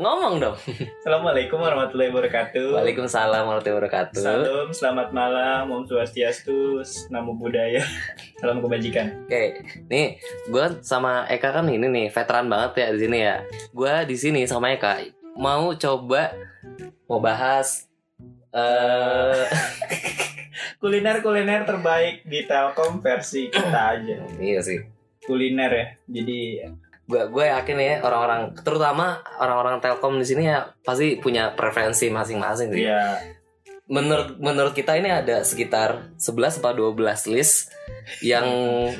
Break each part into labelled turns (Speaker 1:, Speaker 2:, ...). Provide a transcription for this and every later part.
Speaker 1: Ngomong dong.
Speaker 2: Assalamualaikum warahmatullahi wabarakatuh.
Speaker 1: Waalaikumsalam warahmatullahi wabarakatuh.
Speaker 2: Salam, selamat malam, Om Swastiastu, Namo Buddhaya, salam kebajikan.
Speaker 1: Oke, nih gue sama Eka kan ini nih veteran banget ya di sini ya. Gue di sini sama Eka mau coba mau bahas eh
Speaker 2: Kuliner-kuliner terbaik di Telkom versi kita aja.
Speaker 1: iya sih.
Speaker 2: Kuliner ya, jadi
Speaker 1: Gue gue yakin ya orang-orang terutama orang-orang Telkom di sini ya pasti punya preferensi masing-masing
Speaker 3: Iya.
Speaker 1: sih.
Speaker 2: ya
Speaker 1: Menurut menurut kita ini ada sekitar 11 atau 12 list yang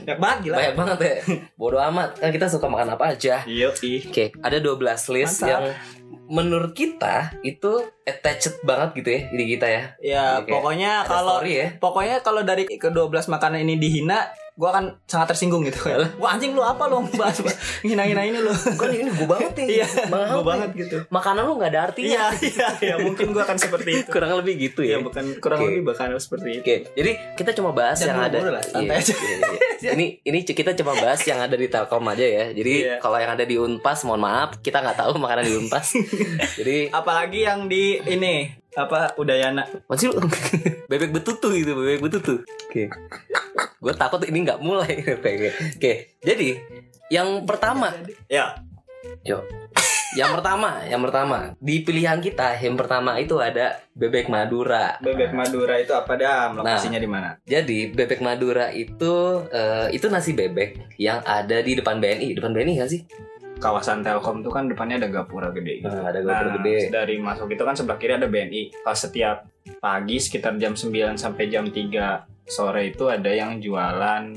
Speaker 2: banyak banget gila.
Speaker 1: banyak banget ya. Bodoh amat kan kita suka makan apa aja.
Speaker 2: Iya,
Speaker 1: Oke, ada 12 list
Speaker 2: Mantap.
Speaker 1: yang menurut kita itu attached banget gitu ya di kita ya.
Speaker 3: Ya,
Speaker 1: Oke.
Speaker 3: pokoknya
Speaker 1: Ada
Speaker 3: kalau
Speaker 1: story ya.
Speaker 3: pokoknya kalau dari ke-12 makanan ini dihina, gua akan sangat tersinggung gitu kan. Wah, anjing lu apa lu bahas ngina-ngina ini lu.
Speaker 1: Kan ini gue banget nih.
Speaker 3: Iya,
Speaker 1: Mahal
Speaker 3: gua
Speaker 1: nih.
Speaker 3: banget gitu.
Speaker 1: Makanan lu nggak ada artinya.
Speaker 3: Iya, iya,
Speaker 2: ya mungkin gua akan seperti itu.
Speaker 1: Kurang lebih gitu
Speaker 2: Ya
Speaker 1: ya.
Speaker 2: bukan kurang
Speaker 1: Oke.
Speaker 2: lebih bakal seperti itu.
Speaker 1: Oke, jadi kita cuma bahas yang
Speaker 3: Jangan
Speaker 1: ada.
Speaker 3: buru-buru lah, santai
Speaker 1: Iya,
Speaker 3: aja.
Speaker 1: iya, iya. ini ini kita cuma bahas yang ada di Telkom aja ya. Jadi
Speaker 2: Iya.
Speaker 1: kalau yang ada di Unpas, mohon maaf, kita nggak tahu makanan di Unpas. jadi
Speaker 3: Apalagi yang di ini apa Udayana.
Speaker 1: masih lu bebek betutu gitu, bebek betutu. Oke. Gue takut ini nggak mulai. Oke, Oke, jadi yang pertama
Speaker 2: Ya,
Speaker 1: Yuk. yang pertama, yang pertama di pilihan kita yang pertama itu ada bebek Madura.
Speaker 2: bebek Madura itu apa dam?
Speaker 1: Nah.
Speaker 2: Lokasinya di mana?
Speaker 1: Jadi bebek Madura itu eh, itu nasi bebek yang ada di depan BNI, depan BNI nggak sih?
Speaker 2: Kawasan Telkom tuh kan depannya ada gapura gede. gitu.
Speaker 1: Nah, ada gapura gede.
Speaker 2: Dari masuk itu kan sebelah kiri ada BNI. Pas setiap pagi sekitar jam 9 sampai jam 3 sore itu ada yang jualan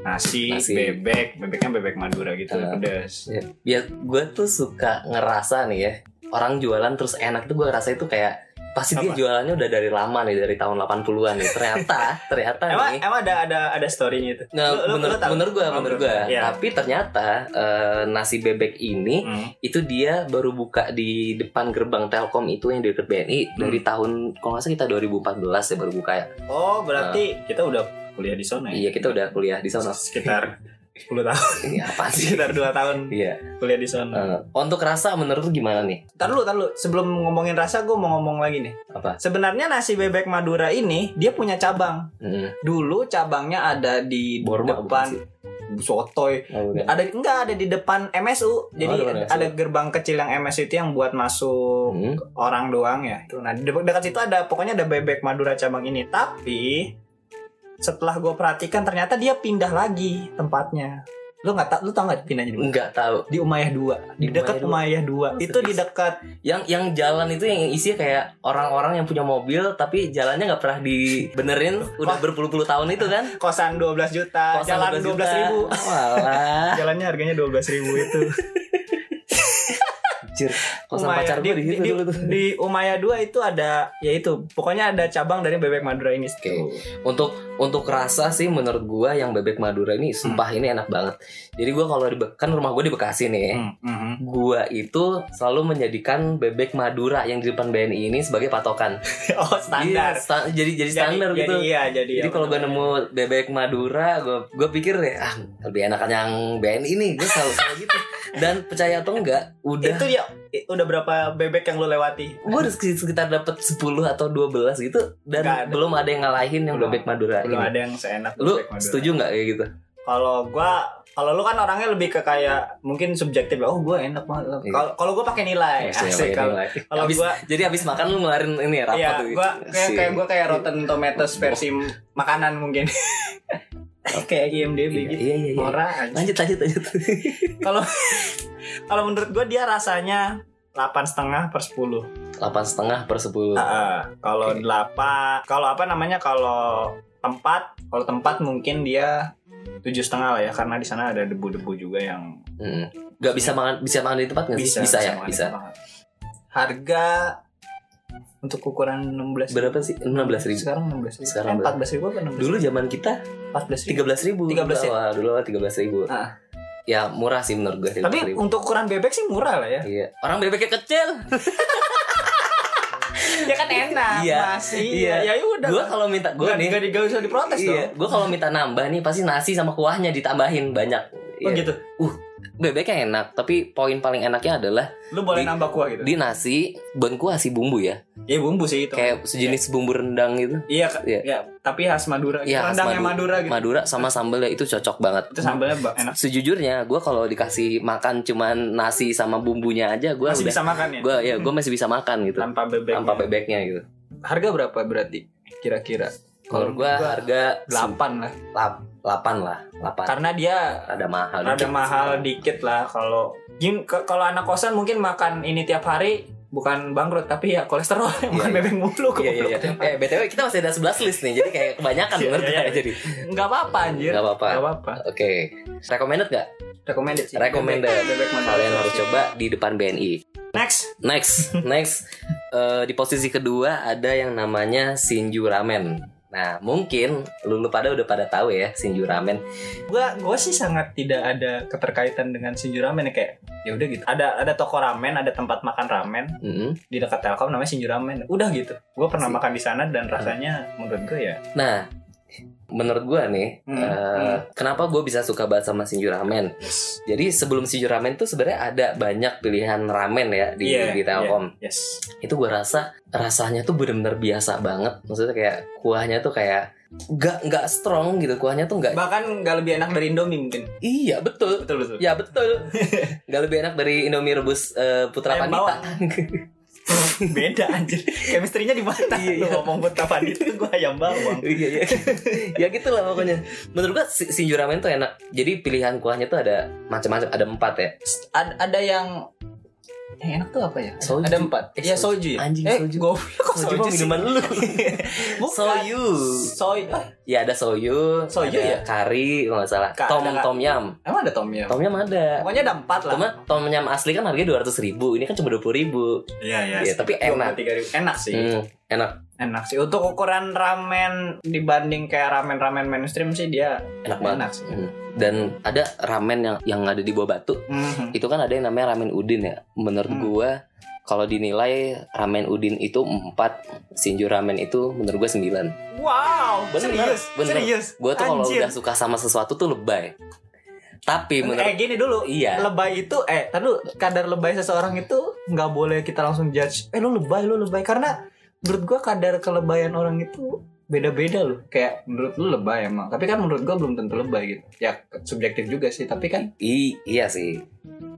Speaker 2: nasi,
Speaker 1: Nasi.
Speaker 2: bebek, bebeknya bebek Madura gitu,
Speaker 1: Ah.
Speaker 2: pedas.
Speaker 1: Ya gue tuh suka ngerasa nih ya orang jualan terus enak tuh gue ngerasa itu kayak pasti dia
Speaker 2: Apa?
Speaker 1: jualannya udah dari lama nih dari tahun 80-an nih. Ternyata ternyata
Speaker 2: Emang,
Speaker 1: nih
Speaker 2: emang ada ada ada storynya itu.
Speaker 1: Nah,
Speaker 2: lu- lu- lu
Speaker 1: menurut
Speaker 2: tahu?
Speaker 1: menurut gue,
Speaker 2: Oh,
Speaker 1: menurut
Speaker 2: belum.
Speaker 1: gue.
Speaker 2: Iya.
Speaker 1: Tapi ternyata eh, nasi bebek ini
Speaker 2: Hmm.
Speaker 1: itu dia baru buka di depan gerbang Telkom itu yang di dekat BNI
Speaker 2: Hmm.
Speaker 1: dari tahun kalau nggak salah kita 2014 ya baru buka ya.
Speaker 2: Oh, berarti kita udah kuliah di sana ya?
Speaker 1: Nah. Iya kita udah kuliah di sana.
Speaker 2: Sekitar 10 tahun,
Speaker 1: Ini apa sih?
Speaker 2: sekitar Hmm. 2 tahun
Speaker 1: Iya.
Speaker 2: kuliah di sana.
Speaker 1: Eh, untuk rasa menurut lu gimana nih?
Speaker 3: Ntar lu, ntar lu. Sebelum ngomongin rasa, gue mau ngomong lagi nih.
Speaker 1: Apa?
Speaker 3: Sebenarnya nasi bebek Madura ini dia punya cabang.
Speaker 1: Hmm.
Speaker 3: Dulu cabangnya ada di
Speaker 1: Borma bukan
Speaker 3: depan
Speaker 1: sih?
Speaker 3: Sotoy.
Speaker 1: Oh, bukan.
Speaker 3: Ada enggak ada di depan MSU. Jadi
Speaker 1: ada Oh, depan MSU.
Speaker 3: ada gerbang kecil yang MSU itu yang buat masuk
Speaker 1: Hmm.
Speaker 3: orang doang ya. Tuh, Nah, di de- dekat situ ada pokoknya ada bebek Madura cabang ini. Tapi setelah gue perhatikan ternyata dia pindah lagi tempatnya. Lu nggak tau, lu tau nggak pindahnya di mana?
Speaker 1: Nggak tahu.
Speaker 3: Di Umayah
Speaker 1: Di Oh,
Speaker 3: 2 Di dekat Umayah 2 Itu di dekat
Speaker 1: Yang yang jalan itu yang isinya kayak orang-orang yang punya mobil tapi jalannya nggak pernah dibenerin udah berpuluh-puluh tahun itu kan?
Speaker 3: kosan 12 juta
Speaker 1: Kosan
Speaker 3: Ah, Jalan 12
Speaker 1: juta.
Speaker 3: ribu
Speaker 1: Walah.
Speaker 3: Jalannya harganya 12 ribu itu
Speaker 1: Anjir. Kosan
Speaker 3: Umayah,
Speaker 1: pacar gue di
Speaker 3: di,
Speaker 1: situ
Speaker 3: di,
Speaker 1: dulu tuh.
Speaker 3: di Umayah 2 itu ada Ya itu Pokoknya ada cabang dari Bebek Madura ini
Speaker 1: Oke. Untuk untuk rasa sih menurut gua yang bebek Madura ini
Speaker 3: Hmm.
Speaker 1: sumpah ini enak banget. Jadi gua kalau di Be- kan rumah gua di Bekasi nih.
Speaker 2: Hmm, mhm.
Speaker 1: Gua itu selalu menjadikan bebek Madura yang di depan BNI ini sebagai patokan.
Speaker 3: Oh standar
Speaker 1: Jadi, sta- jadi jadi standar
Speaker 3: jadi,
Speaker 1: gitu.
Speaker 3: jadi, iya, jadi,
Speaker 1: Jadi
Speaker 3: ya,
Speaker 1: kalau gue nemu bebek Madura, gue gue pikir ya ah lebih enakan yang BNI nih, gue selalu selalu gitu. Dan percaya atau enggak, udah
Speaker 3: Itu ya eh, Udah berapa bebek yang lu lewati
Speaker 1: gue udah sekitar dapat 10 atau 12 gitu dan
Speaker 3: Nggak ada.
Speaker 1: belum ada yang ngalahin yang
Speaker 2: Belum.
Speaker 1: bebek Madura
Speaker 2: Belum
Speaker 1: ini.
Speaker 2: ada yang seenak
Speaker 1: Lu
Speaker 2: bebek Madura.
Speaker 1: setuju nggak kayak gitu?
Speaker 3: Eh, Kalau gua kalau lu kan orangnya lebih ke kayak mungkin subjektif oh gua enak banget
Speaker 1: Iya.
Speaker 3: kalau kalau gua pakai nilai
Speaker 1: Pasti
Speaker 3: asik
Speaker 1: pakai
Speaker 3: kalau
Speaker 1: nilai.
Speaker 3: kalau
Speaker 1: Abis-
Speaker 3: gua
Speaker 1: Jadi abis makan lu ngeluarin ini ya rapat
Speaker 3: Iya,
Speaker 1: tuh. Oh.
Speaker 3: gua kayak
Speaker 1: Asik.
Speaker 3: kayak gua kayak Rotten Tomatoes versi m- makanan mungkin. kayak IMDb
Speaker 1: Iya,
Speaker 3: gitu.
Speaker 1: iya, iya, iya.
Speaker 3: Norak aja.
Speaker 1: Lanjut lanjut lanjut.
Speaker 3: Kalau kalau menurut gua dia rasanya 8,5 setengah per 10
Speaker 1: Delapan setengah per sepuluh.
Speaker 3: Ah, kalau
Speaker 1: Oke.
Speaker 3: delapan, kalau apa namanya kalau tempat, kalau tempat mungkin dia tujuh setengah lah ya karena di sana ada debu-debu juga yang
Speaker 1: Mm. Gak bisa makan bisa makan di tempat nggak sih?
Speaker 3: bisa
Speaker 1: Bisa, ya,
Speaker 3: makan
Speaker 1: bisa.
Speaker 3: di tempat. Harga untuk ukuran 16
Speaker 1: Berapa sih? Enam belas ribu.
Speaker 3: Sekarang 16 ribu.
Speaker 1: Sekarang
Speaker 3: eh, 14 ribu apa 16
Speaker 1: Dulu zaman kita
Speaker 3: 14 ribu.
Speaker 1: tiga belas ribu.
Speaker 3: 13 ya?
Speaker 1: Wah, dulu tiga belas ribu.
Speaker 3: Ah.
Speaker 1: Ya murah sih menurut gue.
Speaker 3: Tapi
Speaker 1: 13.000.
Speaker 3: untuk ukuran bebek sih murah lah ya.
Speaker 1: Iya. Orang bebeknya kecil.
Speaker 3: ya kan enak
Speaker 1: Iya.
Speaker 3: masih.
Speaker 1: Iya.
Speaker 3: Ya ya udah.
Speaker 1: Gue kalau minta gue nih.
Speaker 2: Iya,
Speaker 3: gak, gak, usah diprotes
Speaker 1: Iya, gue kalau minta nambah nih pasti nasi sama kuahnya ditambahin banyak.
Speaker 3: Oh
Speaker 1: Iya.
Speaker 3: gitu.
Speaker 1: Bebeknya enak, tapi poin paling enaknya adalah
Speaker 3: Lu boleh
Speaker 1: Di-
Speaker 3: nambah kuah gitu.
Speaker 1: di nasi ban kasih bumbu ya,
Speaker 3: ya bumbu sih itu.
Speaker 1: kayak sejenis bumbu rendang gitu.
Speaker 3: Iya, Kak.
Speaker 1: Iya.
Speaker 3: Iya, tapi khas Madura.
Speaker 1: Iya, khas
Speaker 3: Rendangnya Madura, gitu.
Speaker 1: Madura sama sambelnya itu cocok banget.
Speaker 2: Itu sambalnya ba- enak.
Speaker 1: Sejujurnya, gue kalau dikasih makan cuman nasi sama bumbunya aja, gue
Speaker 2: Masih
Speaker 1: udah,
Speaker 2: bisa makan ya.
Speaker 1: gue ya gue masih bisa makan gitu,
Speaker 2: Tanpa bebek.
Speaker 1: tanpa
Speaker 3: ya?
Speaker 1: bebeknya gitu.
Speaker 2: Harga berapa berarti? Kira-kira.
Speaker 1: Kalau gue harga
Speaker 2: 8 lah.
Speaker 1: 8 lah, 8
Speaker 2: Karena dia
Speaker 1: ada mahal.
Speaker 2: Kan. rada
Speaker 1: dikit.
Speaker 2: mahal dikit lah kalau Gim- ke- kalau anak kosan mungkin makan ini tiap hari bukan bangkrut tapi ya kolesterol makan
Speaker 1: iya.
Speaker 2: bebek mulu
Speaker 1: Iya iya iya. Eh btw kita masih ada 11 list nih, jadi kayak kebanyakan
Speaker 2: Iya,
Speaker 1: menurut
Speaker 2: iya,
Speaker 1: kita jadi.
Speaker 2: nggak apa-apa anjir
Speaker 1: Nggak apa-apa.
Speaker 2: nggak apa-apa
Speaker 1: Oke, recommended gak?
Speaker 2: recommended sih
Speaker 1: Recommended.
Speaker 2: bebek, bebek Madura.
Speaker 1: Kalian harus coba di depan BNI.
Speaker 3: Next.
Speaker 1: Next, next Eh, di posisi kedua ada yang namanya Shinju Ramen. Nah, mungkin lu, lu pada udah pada tahu ya Shinju Ramen.
Speaker 3: Gua gua
Speaker 2: gue sih sangat tidak ada keterkaitan dengan Shinju Ramen ya, kayak ya udah gitu ada ada toko ramen ada tempat makan ramen
Speaker 1: Mm-mm.
Speaker 2: di dekat Telkom namanya Shinju Ramen udah gitu gue pernah
Speaker 1: Si-
Speaker 2: makan di sana
Speaker 1: Hmm.
Speaker 2: dan rasanya menurut gue ya
Speaker 1: Nah, menurut gua nih,
Speaker 2: Hmm,
Speaker 1: eh, kenapa gua bisa suka banget sama Shinju Ramen?
Speaker 2: yes
Speaker 1: Jadi sebelum Shinju Ramen tuh sebenarnya ada banyak pilihan ramen ya di
Speaker 2: Iya,
Speaker 1: di Telkom.
Speaker 2: yes
Speaker 1: Itu gua rasa rasanya tuh bener-bener biasa banget. Maksudnya kayak kuahnya tuh kayak nggak nggak strong gitu kuahnya tuh nggak
Speaker 3: bahkan nggak lebih enak dari Indomie mungkin.
Speaker 1: iya betul
Speaker 3: Betul betul.
Speaker 1: Ya betul. Gak lebih enak dari Indomie rebus eh, Putra
Speaker 3: Ayam
Speaker 1: Pandita.
Speaker 3: Beda anjir. Chemistry-nya di mana?
Speaker 1: Iya,
Speaker 3: Lu
Speaker 1: iya.
Speaker 3: ngomong buat tapan itu gua ayam bawang.
Speaker 1: Iya iya. ya gitu lah pokoknya. Menurut gua si- Shinju Ramen tuh enak. Jadi pilihan kuahnya tuh ada macam-macam, ada empat ya.
Speaker 3: Ada, ada yang yang enak tuh apa ya?
Speaker 1: Soju.
Speaker 3: Ada empat.
Speaker 1: Eh,
Speaker 3: Iya
Speaker 1: soju.
Speaker 3: soju. ya?
Speaker 1: Anjing,
Speaker 3: eh,
Speaker 1: soju.
Speaker 3: Gua kok soju,
Speaker 1: mah
Speaker 3: sih?
Speaker 1: minuman lu.
Speaker 3: Bukan.
Speaker 1: Soyu.
Speaker 3: Soy. eh,
Speaker 1: Ya ada soyu,
Speaker 3: Soyu
Speaker 1: ada
Speaker 3: ya?
Speaker 1: kari, kalau nggak salah.
Speaker 3: Ka-
Speaker 1: tom
Speaker 3: ada- ya?
Speaker 1: tom yam.
Speaker 2: emang ada Tom Yum
Speaker 1: Tom yam ada.
Speaker 3: Pokoknya ada empat lah.
Speaker 1: Cuma tom yam asli kan harganya dua ratus ribu, ini kan cuma dua puluh ribu.
Speaker 2: iya
Speaker 1: Iya, tapi enak.
Speaker 2: 23.000. enak sih
Speaker 3: Iya.
Speaker 1: Hmm,
Speaker 2: enak
Speaker 3: sih untuk ukuran ramen dibanding kayak ramen-ramen mainstream sih dia
Speaker 1: enak banget.
Speaker 3: sih.
Speaker 1: Hmm. Dan ada ramen yang yang ada di bawah batu
Speaker 3: Mhm.
Speaker 1: itu kan ada yang namanya ramen udin ya menurut
Speaker 3: Hmm.
Speaker 1: gua kalau dinilai ramen udin itu 4 shinju ramen itu menurut gua 9
Speaker 3: Wow,
Speaker 1: Bener,
Speaker 3: serius,
Speaker 1: bener.
Speaker 3: serius.
Speaker 1: gua tuh kalau
Speaker 3: Anjir.
Speaker 1: udah suka sama sesuatu tuh lebay tapi
Speaker 3: eh
Speaker 1: menurut
Speaker 3: gini dulu.
Speaker 1: iya
Speaker 3: Lebay itu eh tadi kadar lebay seseorang itu nggak boleh kita langsung judge. Eh lu lebay, lu lebay karena menurut gua kadar kelebayan orang itu beda-beda loh. Kayak
Speaker 2: menurut lu lebay emang tapi kan menurut gue belum tentu lebay gitu ya subjektif juga sih tapi kan
Speaker 1: I- iya sih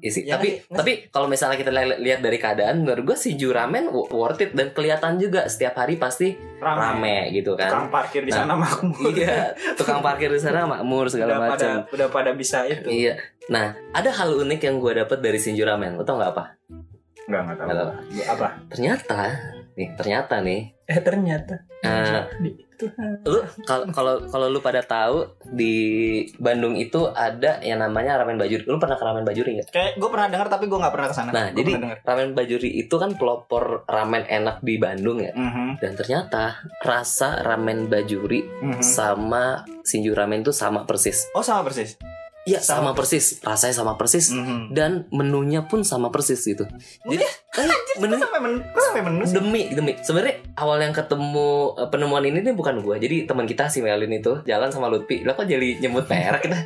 Speaker 1: Iya sih.
Speaker 3: Ya,
Speaker 1: tapi
Speaker 3: nggak-
Speaker 1: tapi kalau misalnya kita li- lihat dari keadaan menurut gua shinju ramen wo- worth it dan kelihatan juga setiap hari pasti rame gitu
Speaker 2: tukang
Speaker 1: kan
Speaker 2: parkir di
Speaker 1: Nah,
Speaker 2: sana makmur
Speaker 1: iya tukang parkir di sana makmur segala
Speaker 2: udah pada
Speaker 1: macam
Speaker 2: udah pada bisa itu
Speaker 1: Iya. Nah, ada hal unik yang gue dapat dari Shinju Ramen. Lo tau nggak apa?
Speaker 2: nggak nggak tahu
Speaker 1: Nggak tahu.
Speaker 2: Ya, apa
Speaker 1: Ternyata, nih, ternyata nih.
Speaker 3: eh ternyata
Speaker 1: eh, lu kalau kalau kalau lu pada tahu di Bandung itu ada yang namanya ramen bajuri. Lu pernah ke ramen bajuri nggak?
Speaker 3: kayak gua pernah dengar tapi gua nggak pernah ke sana.
Speaker 1: Nah,
Speaker 3: Gua
Speaker 1: jadi-
Speaker 3: pernah dengar.
Speaker 1: Ramen bajuri itu kan pelopor ramen enak di Bandung ya.
Speaker 2: Mhm,
Speaker 1: Dan ternyata rasa ramen bajuri
Speaker 2: mhm.
Speaker 1: sama Shinju Ramen itu sama persis.
Speaker 3: Oh sama persis.
Speaker 1: Iya, sama, Hmm.
Speaker 3: Sama
Speaker 1: persis. Rasanya sama persis.
Speaker 3: Mhm.
Speaker 1: Dan menunya pun sama persis gitu. Jadi, eh,
Speaker 3: Kok
Speaker 1: menu
Speaker 3: sampai men, kok sampai menu sih?
Speaker 1: demi demi sebenarnya awal yang ketemu eh, penemuan ini nih bukan gua jadi teman kita si Melin itu jalan sama Lutfi lah kok jadi nyebut merek kita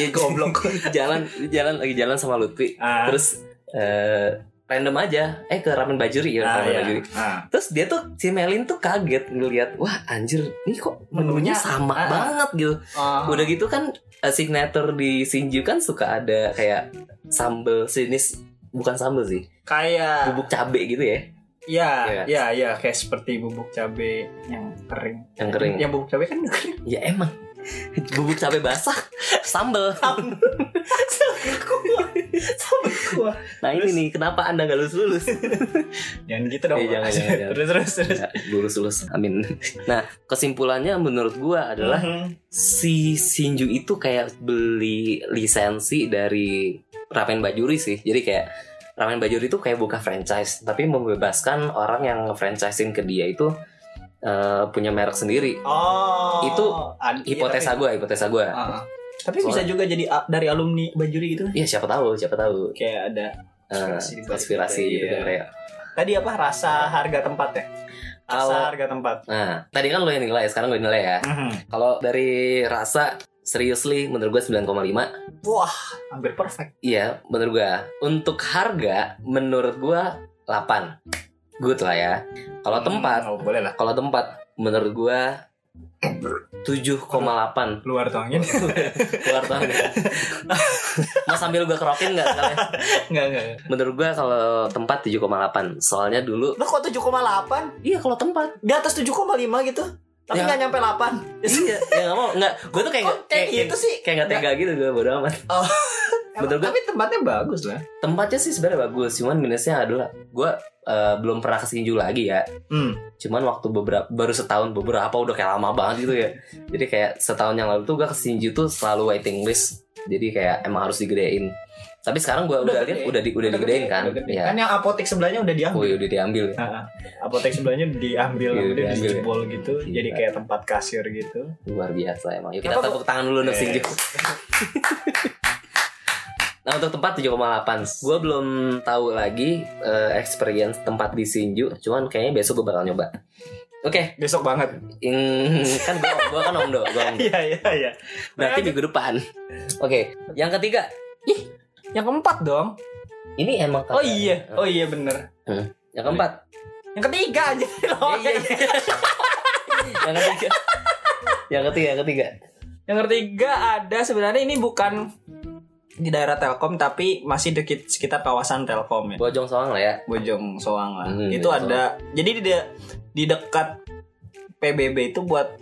Speaker 1: ya goblok jalan jalan lagi jalan sama Lutfi
Speaker 2: Ah,
Speaker 1: terus eh, random aja eh ke ramen bajuri ya
Speaker 2: ah,
Speaker 1: ramen
Speaker 2: ya.
Speaker 1: bajuri
Speaker 2: Ah,
Speaker 1: terus dia tuh si Melin tuh kaget ngeliat wah anjir ini kok menunya
Speaker 3: Menunya,
Speaker 1: sama
Speaker 3: ah, ah.
Speaker 1: banget gitu
Speaker 3: Ah.
Speaker 1: udah gitu kan eh, signature di Shinju kan suka ada kayak sambel sinis bukan sambel sih
Speaker 3: Ah.
Speaker 2: kayak
Speaker 1: bubuk cabe gitu ya Iya
Speaker 2: ya
Speaker 1: kan?
Speaker 2: ya ya kayak seperti bubuk cabe yang kering
Speaker 1: yang kering
Speaker 2: yang bubuk cabe kan udah kering
Speaker 1: Ya emang Bubuk cabai basah Sambel
Speaker 3: kuah.
Speaker 1: Nah ini nih Kenapa anda gak lulus-lulus
Speaker 2: jangan gitu dong
Speaker 1: Iya, jangan,
Speaker 2: Mas.
Speaker 1: jangan, jangan.
Speaker 2: terus terus terus
Speaker 1: Ya, Lulus-lulus Amin Nah kesimpulannya menurut gua adalah
Speaker 3: Mhm.
Speaker 1: Si Shinju itu kayak Beli lisensi dari Ramen Bajuri sih Jadi kayak Ramen Bajuri itu kayak buka franchise Tapi membebaskan orang yang franchisein ke dia itu eh, Punya merek sendiri
Speaker 3: Oh.
Speaker 1: Itu
Speaker 3: ad- iya,
Speaker 1: Hipotesa
Speaker 3: tapi-
Speaker 1: gua Hipotesa gua
Speaker 3: Ah, ah. Tapi bisa juga jadi a- dari alumni Bajuri gitu.
Speaker 1: Iya siapa tahu Siapa tahu
Speaker 2: kayak ada
Speaker 1: Eh,
Speaker 2: Konspirasi di balik
Speaker 1: konspirasi
Speaker 2: itu,
Speaker 1: gitu
Speaker 2: iya.
Speaker 1: kan kayak
Speaker 3: Tadi apa rasa harga tempat ya? Rasa
Speaker 1: Kalau- Mhm.
Speaker 3: harga tempat.
Speaker 1: Nah, tadi kan lo yang nilai, sekarang gue nilai ya. Kalau dari rasa seriously menurut gue 9,5
Speaker 3: Wah, hampir perfect.
Speaker 1: Iya, menurut gua. Untuk harga, menurut gua 8. Good lah ya. Kalau
Speaker 3: Hmm.
Speaker 1: tempat,
Speaker 2: oh, boleh lah
Speaker 1: kalau tempat menurut gua 7,8
Speaker 2: keluar tuh angin
Speaker 1: keluar tahun ya. Mau sambil gua kerokin nggak sekalian?
Speaker 3: Enggak, enggak.
Speaker 1: Menurut gua kalau tempat 7,8. Soalnya dulu
Speaker 3: Lu kok 7,8?
Speaker 1: iya kalau tempat.
Speaker 3: Di atas 7,5 gitu.
Speaker 1: Ya.
Speaker 3: Tapi nggak nyampe 8.
Speaker 1: Iya, ya nggak mau nggak. Gua tuh kayak
Speaker 3: Kok kayak gitu sih?
Speaker 1: Kayak nggak tega gitu gua bodo amat.
Speaker 3: Oh.
Speaker 1: Bener gua-
Speaker 2: tapi tempatnya bagus lah
Speaker 1: Tempatnya sih sebenarnya bagus, cuman minusnya adalah gua eh, belum pernah kesinju lagi ya.
Speaker 3: Hmm.
Speaker 1: cuman waktu beberapa baru setahun beberapa udah kayak lama banget gitu ya jadi kayak setahun yang lalu tuh gue ke Shinju tuh selalu waiting list jadi kayak emang harus digedein tapi sekarang gue
Speaker 2: Udah
Speaker 1: udah
Speaker 2: gede. ya?
Speaker 1: lihat udah di, udah,
Speaker 2: Udah
Speaker 1: digedein
Speaker 2: gede,
Speaker 1: kan
Speaker 2: udah gede.
Speaker 1: ya
Speaker 3: Kan yang apotek sebelahnya udah
Speaker 1: oh
Speaker 3: diambil.
Speaker 1: iya, udah diambil ya.
Speaker 3: Heeh.
Speaker 2: apotek sebelahnya diambil
Speaker 1: Iya,
Speaker 2: udah
Speaker 1: diambil. Iya.
Speaker 2: dijebol gitu
Speaker 1: Gila.
Speaker 2: jadi kayak tempat kasir gitu
Speaker 1: luar biasa emang yuk kita
Speaker 3: Kenapa
Speaker 1: tepuk tangan dulu untuk
Speaker 2: Eh.
Speaker 1: Shinju nah untuk tempat 7,8 gue belum tahu lagi eh, experience tempat di Shinju cuman kayaknya besok gue bakal nyoba Oke,
Speaker 2: besok banget
Speaker 1: in- kan gue gua kan omdo, gue omdo.
Speaker 3: Iya, iya, iya.
Speaker 1: Berarti minggu depan. Oke, yang ketiga,
Speaker 3: Yang keempat dong.
Speaker 1: ini emang
Speaker 3: Oh iya,
Speaker 1: kagak.
Speaker 3: oh iya bener.
Speaker 1: Yang keempat.
Speaker 3: Yang ketiga aja.
Speaker 1: Iya, iya, iya. yang ketiga. Yang ketiga, yang ketiga.
Speaker 3: Yang ketiga ada sebenarnya ini bukan di daerah Telkom tapi masih dekat sekitar kawasan Telkom ya.
Speaker 1: Bojong soang lah ya.
Speaker 2: Bojong Soang lah.
Speaker 1: Hmm,
Speaker 3: itu
Speaker 1: Bojong
Speaker 3: ada jadi di de- di dekat PBB itu buat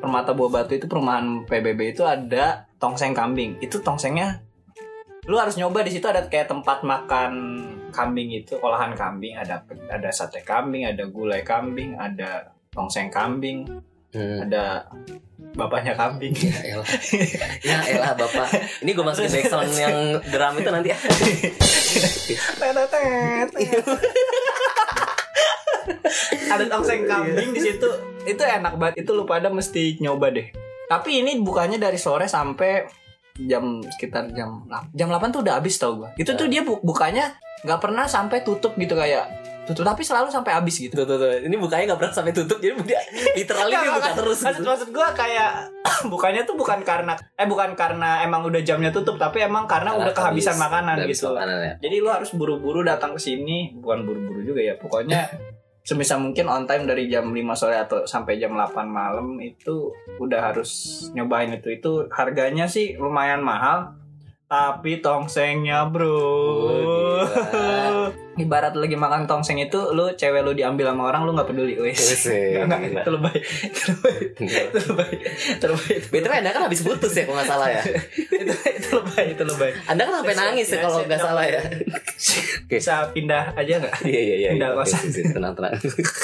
Speaker 3: Permata Buah Batu itu perumahan PBB itu ada tongseng kambing. Itu tongsengnya lu harus nyoba di situ ada kayak tempat makan kambing itu olahan kambing ada ada sate kambing ada gulai kambing ada tongseng kambing
Speaker 1: Hmm.
Speaker 3: ada bapaknya kambing
Speaker 1: Ya elah. Ya elah Bapak. Ini gue masukin background yang drum itu nanti.
Speaker 3: Iya. ada tongseng kambing di situ itu enak banget itu lu pada mesti nyoba deh tapi ini bukannya dari sore sampai jam sekitar jam 8 jam 8 tuh udah habis tau gua itu tuh dia bu- bukanya nggak pernah sampai tutup gitu kayak tutup tapi selalu sampai habis gitu
Speaker 1: Tuh, tuh, tuh. Ini bukanya gak pernah sampai tutup. Jadi dia literally dia
Speaker 3: Nggak,
Speaker 1: buka
Speaker 3: nggak.
Speaker 1: terus.
Speaker 3: maksud, maksud gua kayak bukannya tuh bukan karena eh bukan karena emang udah jamnya tutup tapi emang karena, udah kehabisan
Speaker 1: habis.
Speaker 3: makanan
Speaker 1: Udah habis
Speaker 3: gitu
Speaker 1: makanan ya.
Speaker 3: jadi lu harus buru-buru datang ke sini, bukan buru-buru juga ya. Pokoknya sebisa mungkin on time dari jam 5 sore atau sampai jam 8 malam itu udah harus nyobain itu. Itu harganya sih lumayan mahal, tapi
Speaker 1: Oh,
Speaker 3: tongsengnya, Bro.
Speaker 1: gila.
Speaker 3: Ibarat lu lagi makan tongseng itu lu cewek lu diambil sama orang lu nggak peduli, wes.
Speaker 1: Wih,
Speaker 3: Nggak, nggak,
Speaker 1: gila.
Speaker 3: itu lebay. Itu lebay. Itu lebay. Itu lebay.
Speaker 1: Betul Anda kan habis putus ya kalau nggak salah ya.
Speaker 3: Itu itu lebay, itu lebay.
Speaker 1: Anda kan sampai nangis ya kalau nggak salah ya.
Speaker 3: Bisa pindah aja nggak?
Speaker 1: Iya iya iya. Oke,
Speaker 3: Nggak usah.
Speaker 1: oke, tenang tenang.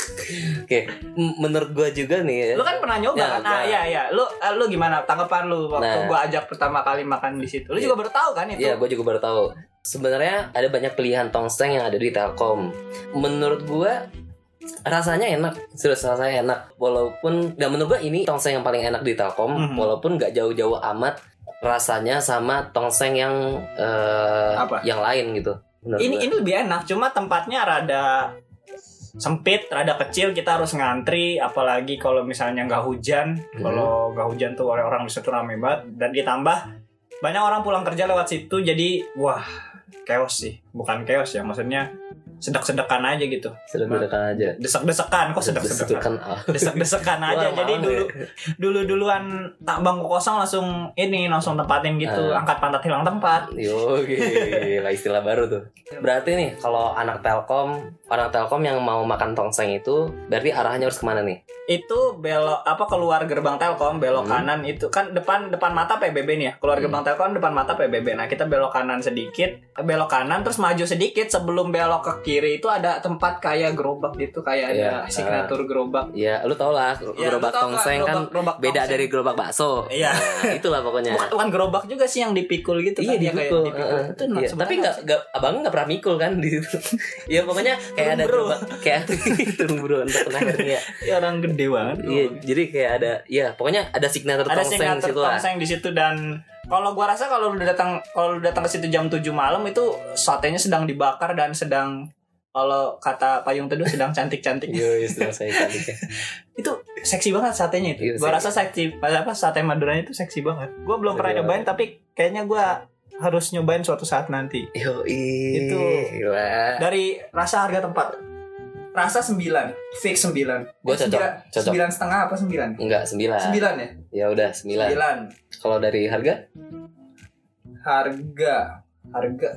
Speaker 1: Oke, m- menurut gua juga nih.
Speaker 3: Lu kan pernah nyoba
Speaker 1: Ya,
Speaker 3: kan?
Speaker 1: gua.
Speaker 3: Ah, iya iya. Lu eh, lu gimana tanggapan lu waktu
Speaker 1: Nah.
Speaker 3: gua ajak pertama kali makan di situ? Lu
Speaker 1: Iya.
Speaker 3: juga baru tahu kan itu?
Speaker 1: Iya, gue juga baru tahu. Sebenarnya ada banyak pilihan tongseng yang ada di Telkom. Menurut gua rasanya enak, serius rasanya enak. Walaupun, dan menurut gua ini tongseng yang paling enak di Telkom.
Speaker 3: Mhm.
Speaker 1: Walaupun nggak jauh-jauh amat rasanya sama tongseng yang eh,
Speaker 3: Apa?
Speaker 1: yang lain gitu. Menurut
Speaker 3: Ini
Speaker 1: gua.
Speaker 3: ini lebih enak, cuma tempatnya rada sempit, rada kecil, kita harus ngantri, apalagi kalau misalnya nggak hujan,
Speaker 1: Hmm.
Speaker 3: kalau nggak hujan tuh orang-orang di situ rame banget, dan ditambah banyak orang pulang kerja lewat situ, jadi wah chaos sih, bukan chaos ya, maksudnya sedek-sedekan aja gitu,
Speaker 1: Sedek-sedekan aja.
Speaker 3: desek-desekan kok sedek-sedekan,
Speaker 1: Sedek-sedekan. Ah,
Speaker 3: desek-desekan kan aja,
Speaker 1: Wah,
Speaker 3: jadi
Speaker 1: mau
Speaker 3: dulu
Speaker 1: ya.
Speaker 3: dulu-duluan tak bangku kosong langsung ini langsung tempatin gitu,
Speaker 1: Eh.
Speaker 3: angkat pantat hilang tempat.
Speaker 1: Yo, gila istilah baru tuh. Berarti nih kalau anak Telkom, orang Telkom yang mau makan tongseng itu, berarti arahnya harus kemana nih?
Speaker 3: Itu belok apa keluar gerbang Telkom, belok
Speaker 1: Hmm.
Speaker 3: kanan itu kan depan depan mata PBB nih ya. Keluar
Speaker 1: Hmm.
Speaker 3: gerbang Telkom depan mata PBB. Nah, kita belok kanan sedikit, belok kanan terus maju sedikit sebelum belok ke kiri itu ada tempat kayak gerobak gitu, kayak ada
Speaker 1: Iya,
Speaker 3: signatur gerobak.
Speaker 1: Ya, lu tau lah
Speaker 3: Ya,
Speaker 1: gerobak
Speaker 3: lu tau
Speaker 1: tongseng kan
Speaker 3: gerobak- gerobak
Speaker 1: beda
Speaker 3: tongseng.
Speaker 1: dari gerobak bakso.
Speaker 3: Iya.
Speaker 1: Nah, itulah pokoknya.
Speaker 3: Bukan, bukan gerobak juga sih yang dipikul gitu
Speaker 1: Iya
Speaker 3: kan, ya,
Speaker 1: dipikul.
Speaker 3: kayak dipikul.
Speaker 1: heeh.
Speaker 3: Itu nah,
Speaker 1: Iya,
Speaker 3: sebenarnya
Speaker 1: tapi nggak nggak abang nggak pernah mikul kan di situ. Iya pokoknya kayak ada
Speaker 3: Turun bro.
Speaker 1: gerobak kayak turun bro untuk tenaga nih ya.
Speaker 3: ya, orang gede banget.
Speaker 1: Iya jadi kayak ada ya pokoknya ada signature
Speaker 3: ada
Speaker 1: tongseng di
Speaker 3: signature
Speaker 1: situ lah.
Speaker 3: tongseng di situ dan kalau gua rasa kalau lu datang kalau lu datang ke situ jam 7 malam itu satenya sedang dibakar dan sedang kalau kata payung teduh sedang cantik-cantik
Speaker 1: Yo, istilah saya cantik ya.
Speaker 3: itu seksi banget satenya
Speaker 1: Iya,
Speaker 3: itu gua
Speaker 1: seksi.
Speaker 3: rasa seksi apa sate maduranya itu seksi banget gua belum pernah
Speaker 1: Seksi
Speaker 3: nyobain tapi kayaknya gua harus nyobain suatu saat nanti
Speaker 1: Yo,
Speaker 3: Itu.
Speaker 1: Gila.
Speaker 3: dari rasa harga tempat
Speaker 2: Rasa 9, fix 9.
Speaker 3: Eh,
Speaker 1: Gue cocok, cocok.
Speaker 2: 9 setengah apa 9?
Speaker 1: Enggak, sembilan.
Speaker 2: 9 ya?
Speaker 1: Ya udah, sembilan.
Speaker 2: 9.
Speaker 1: Kalau dari harga?
Speaker 2: Harga harga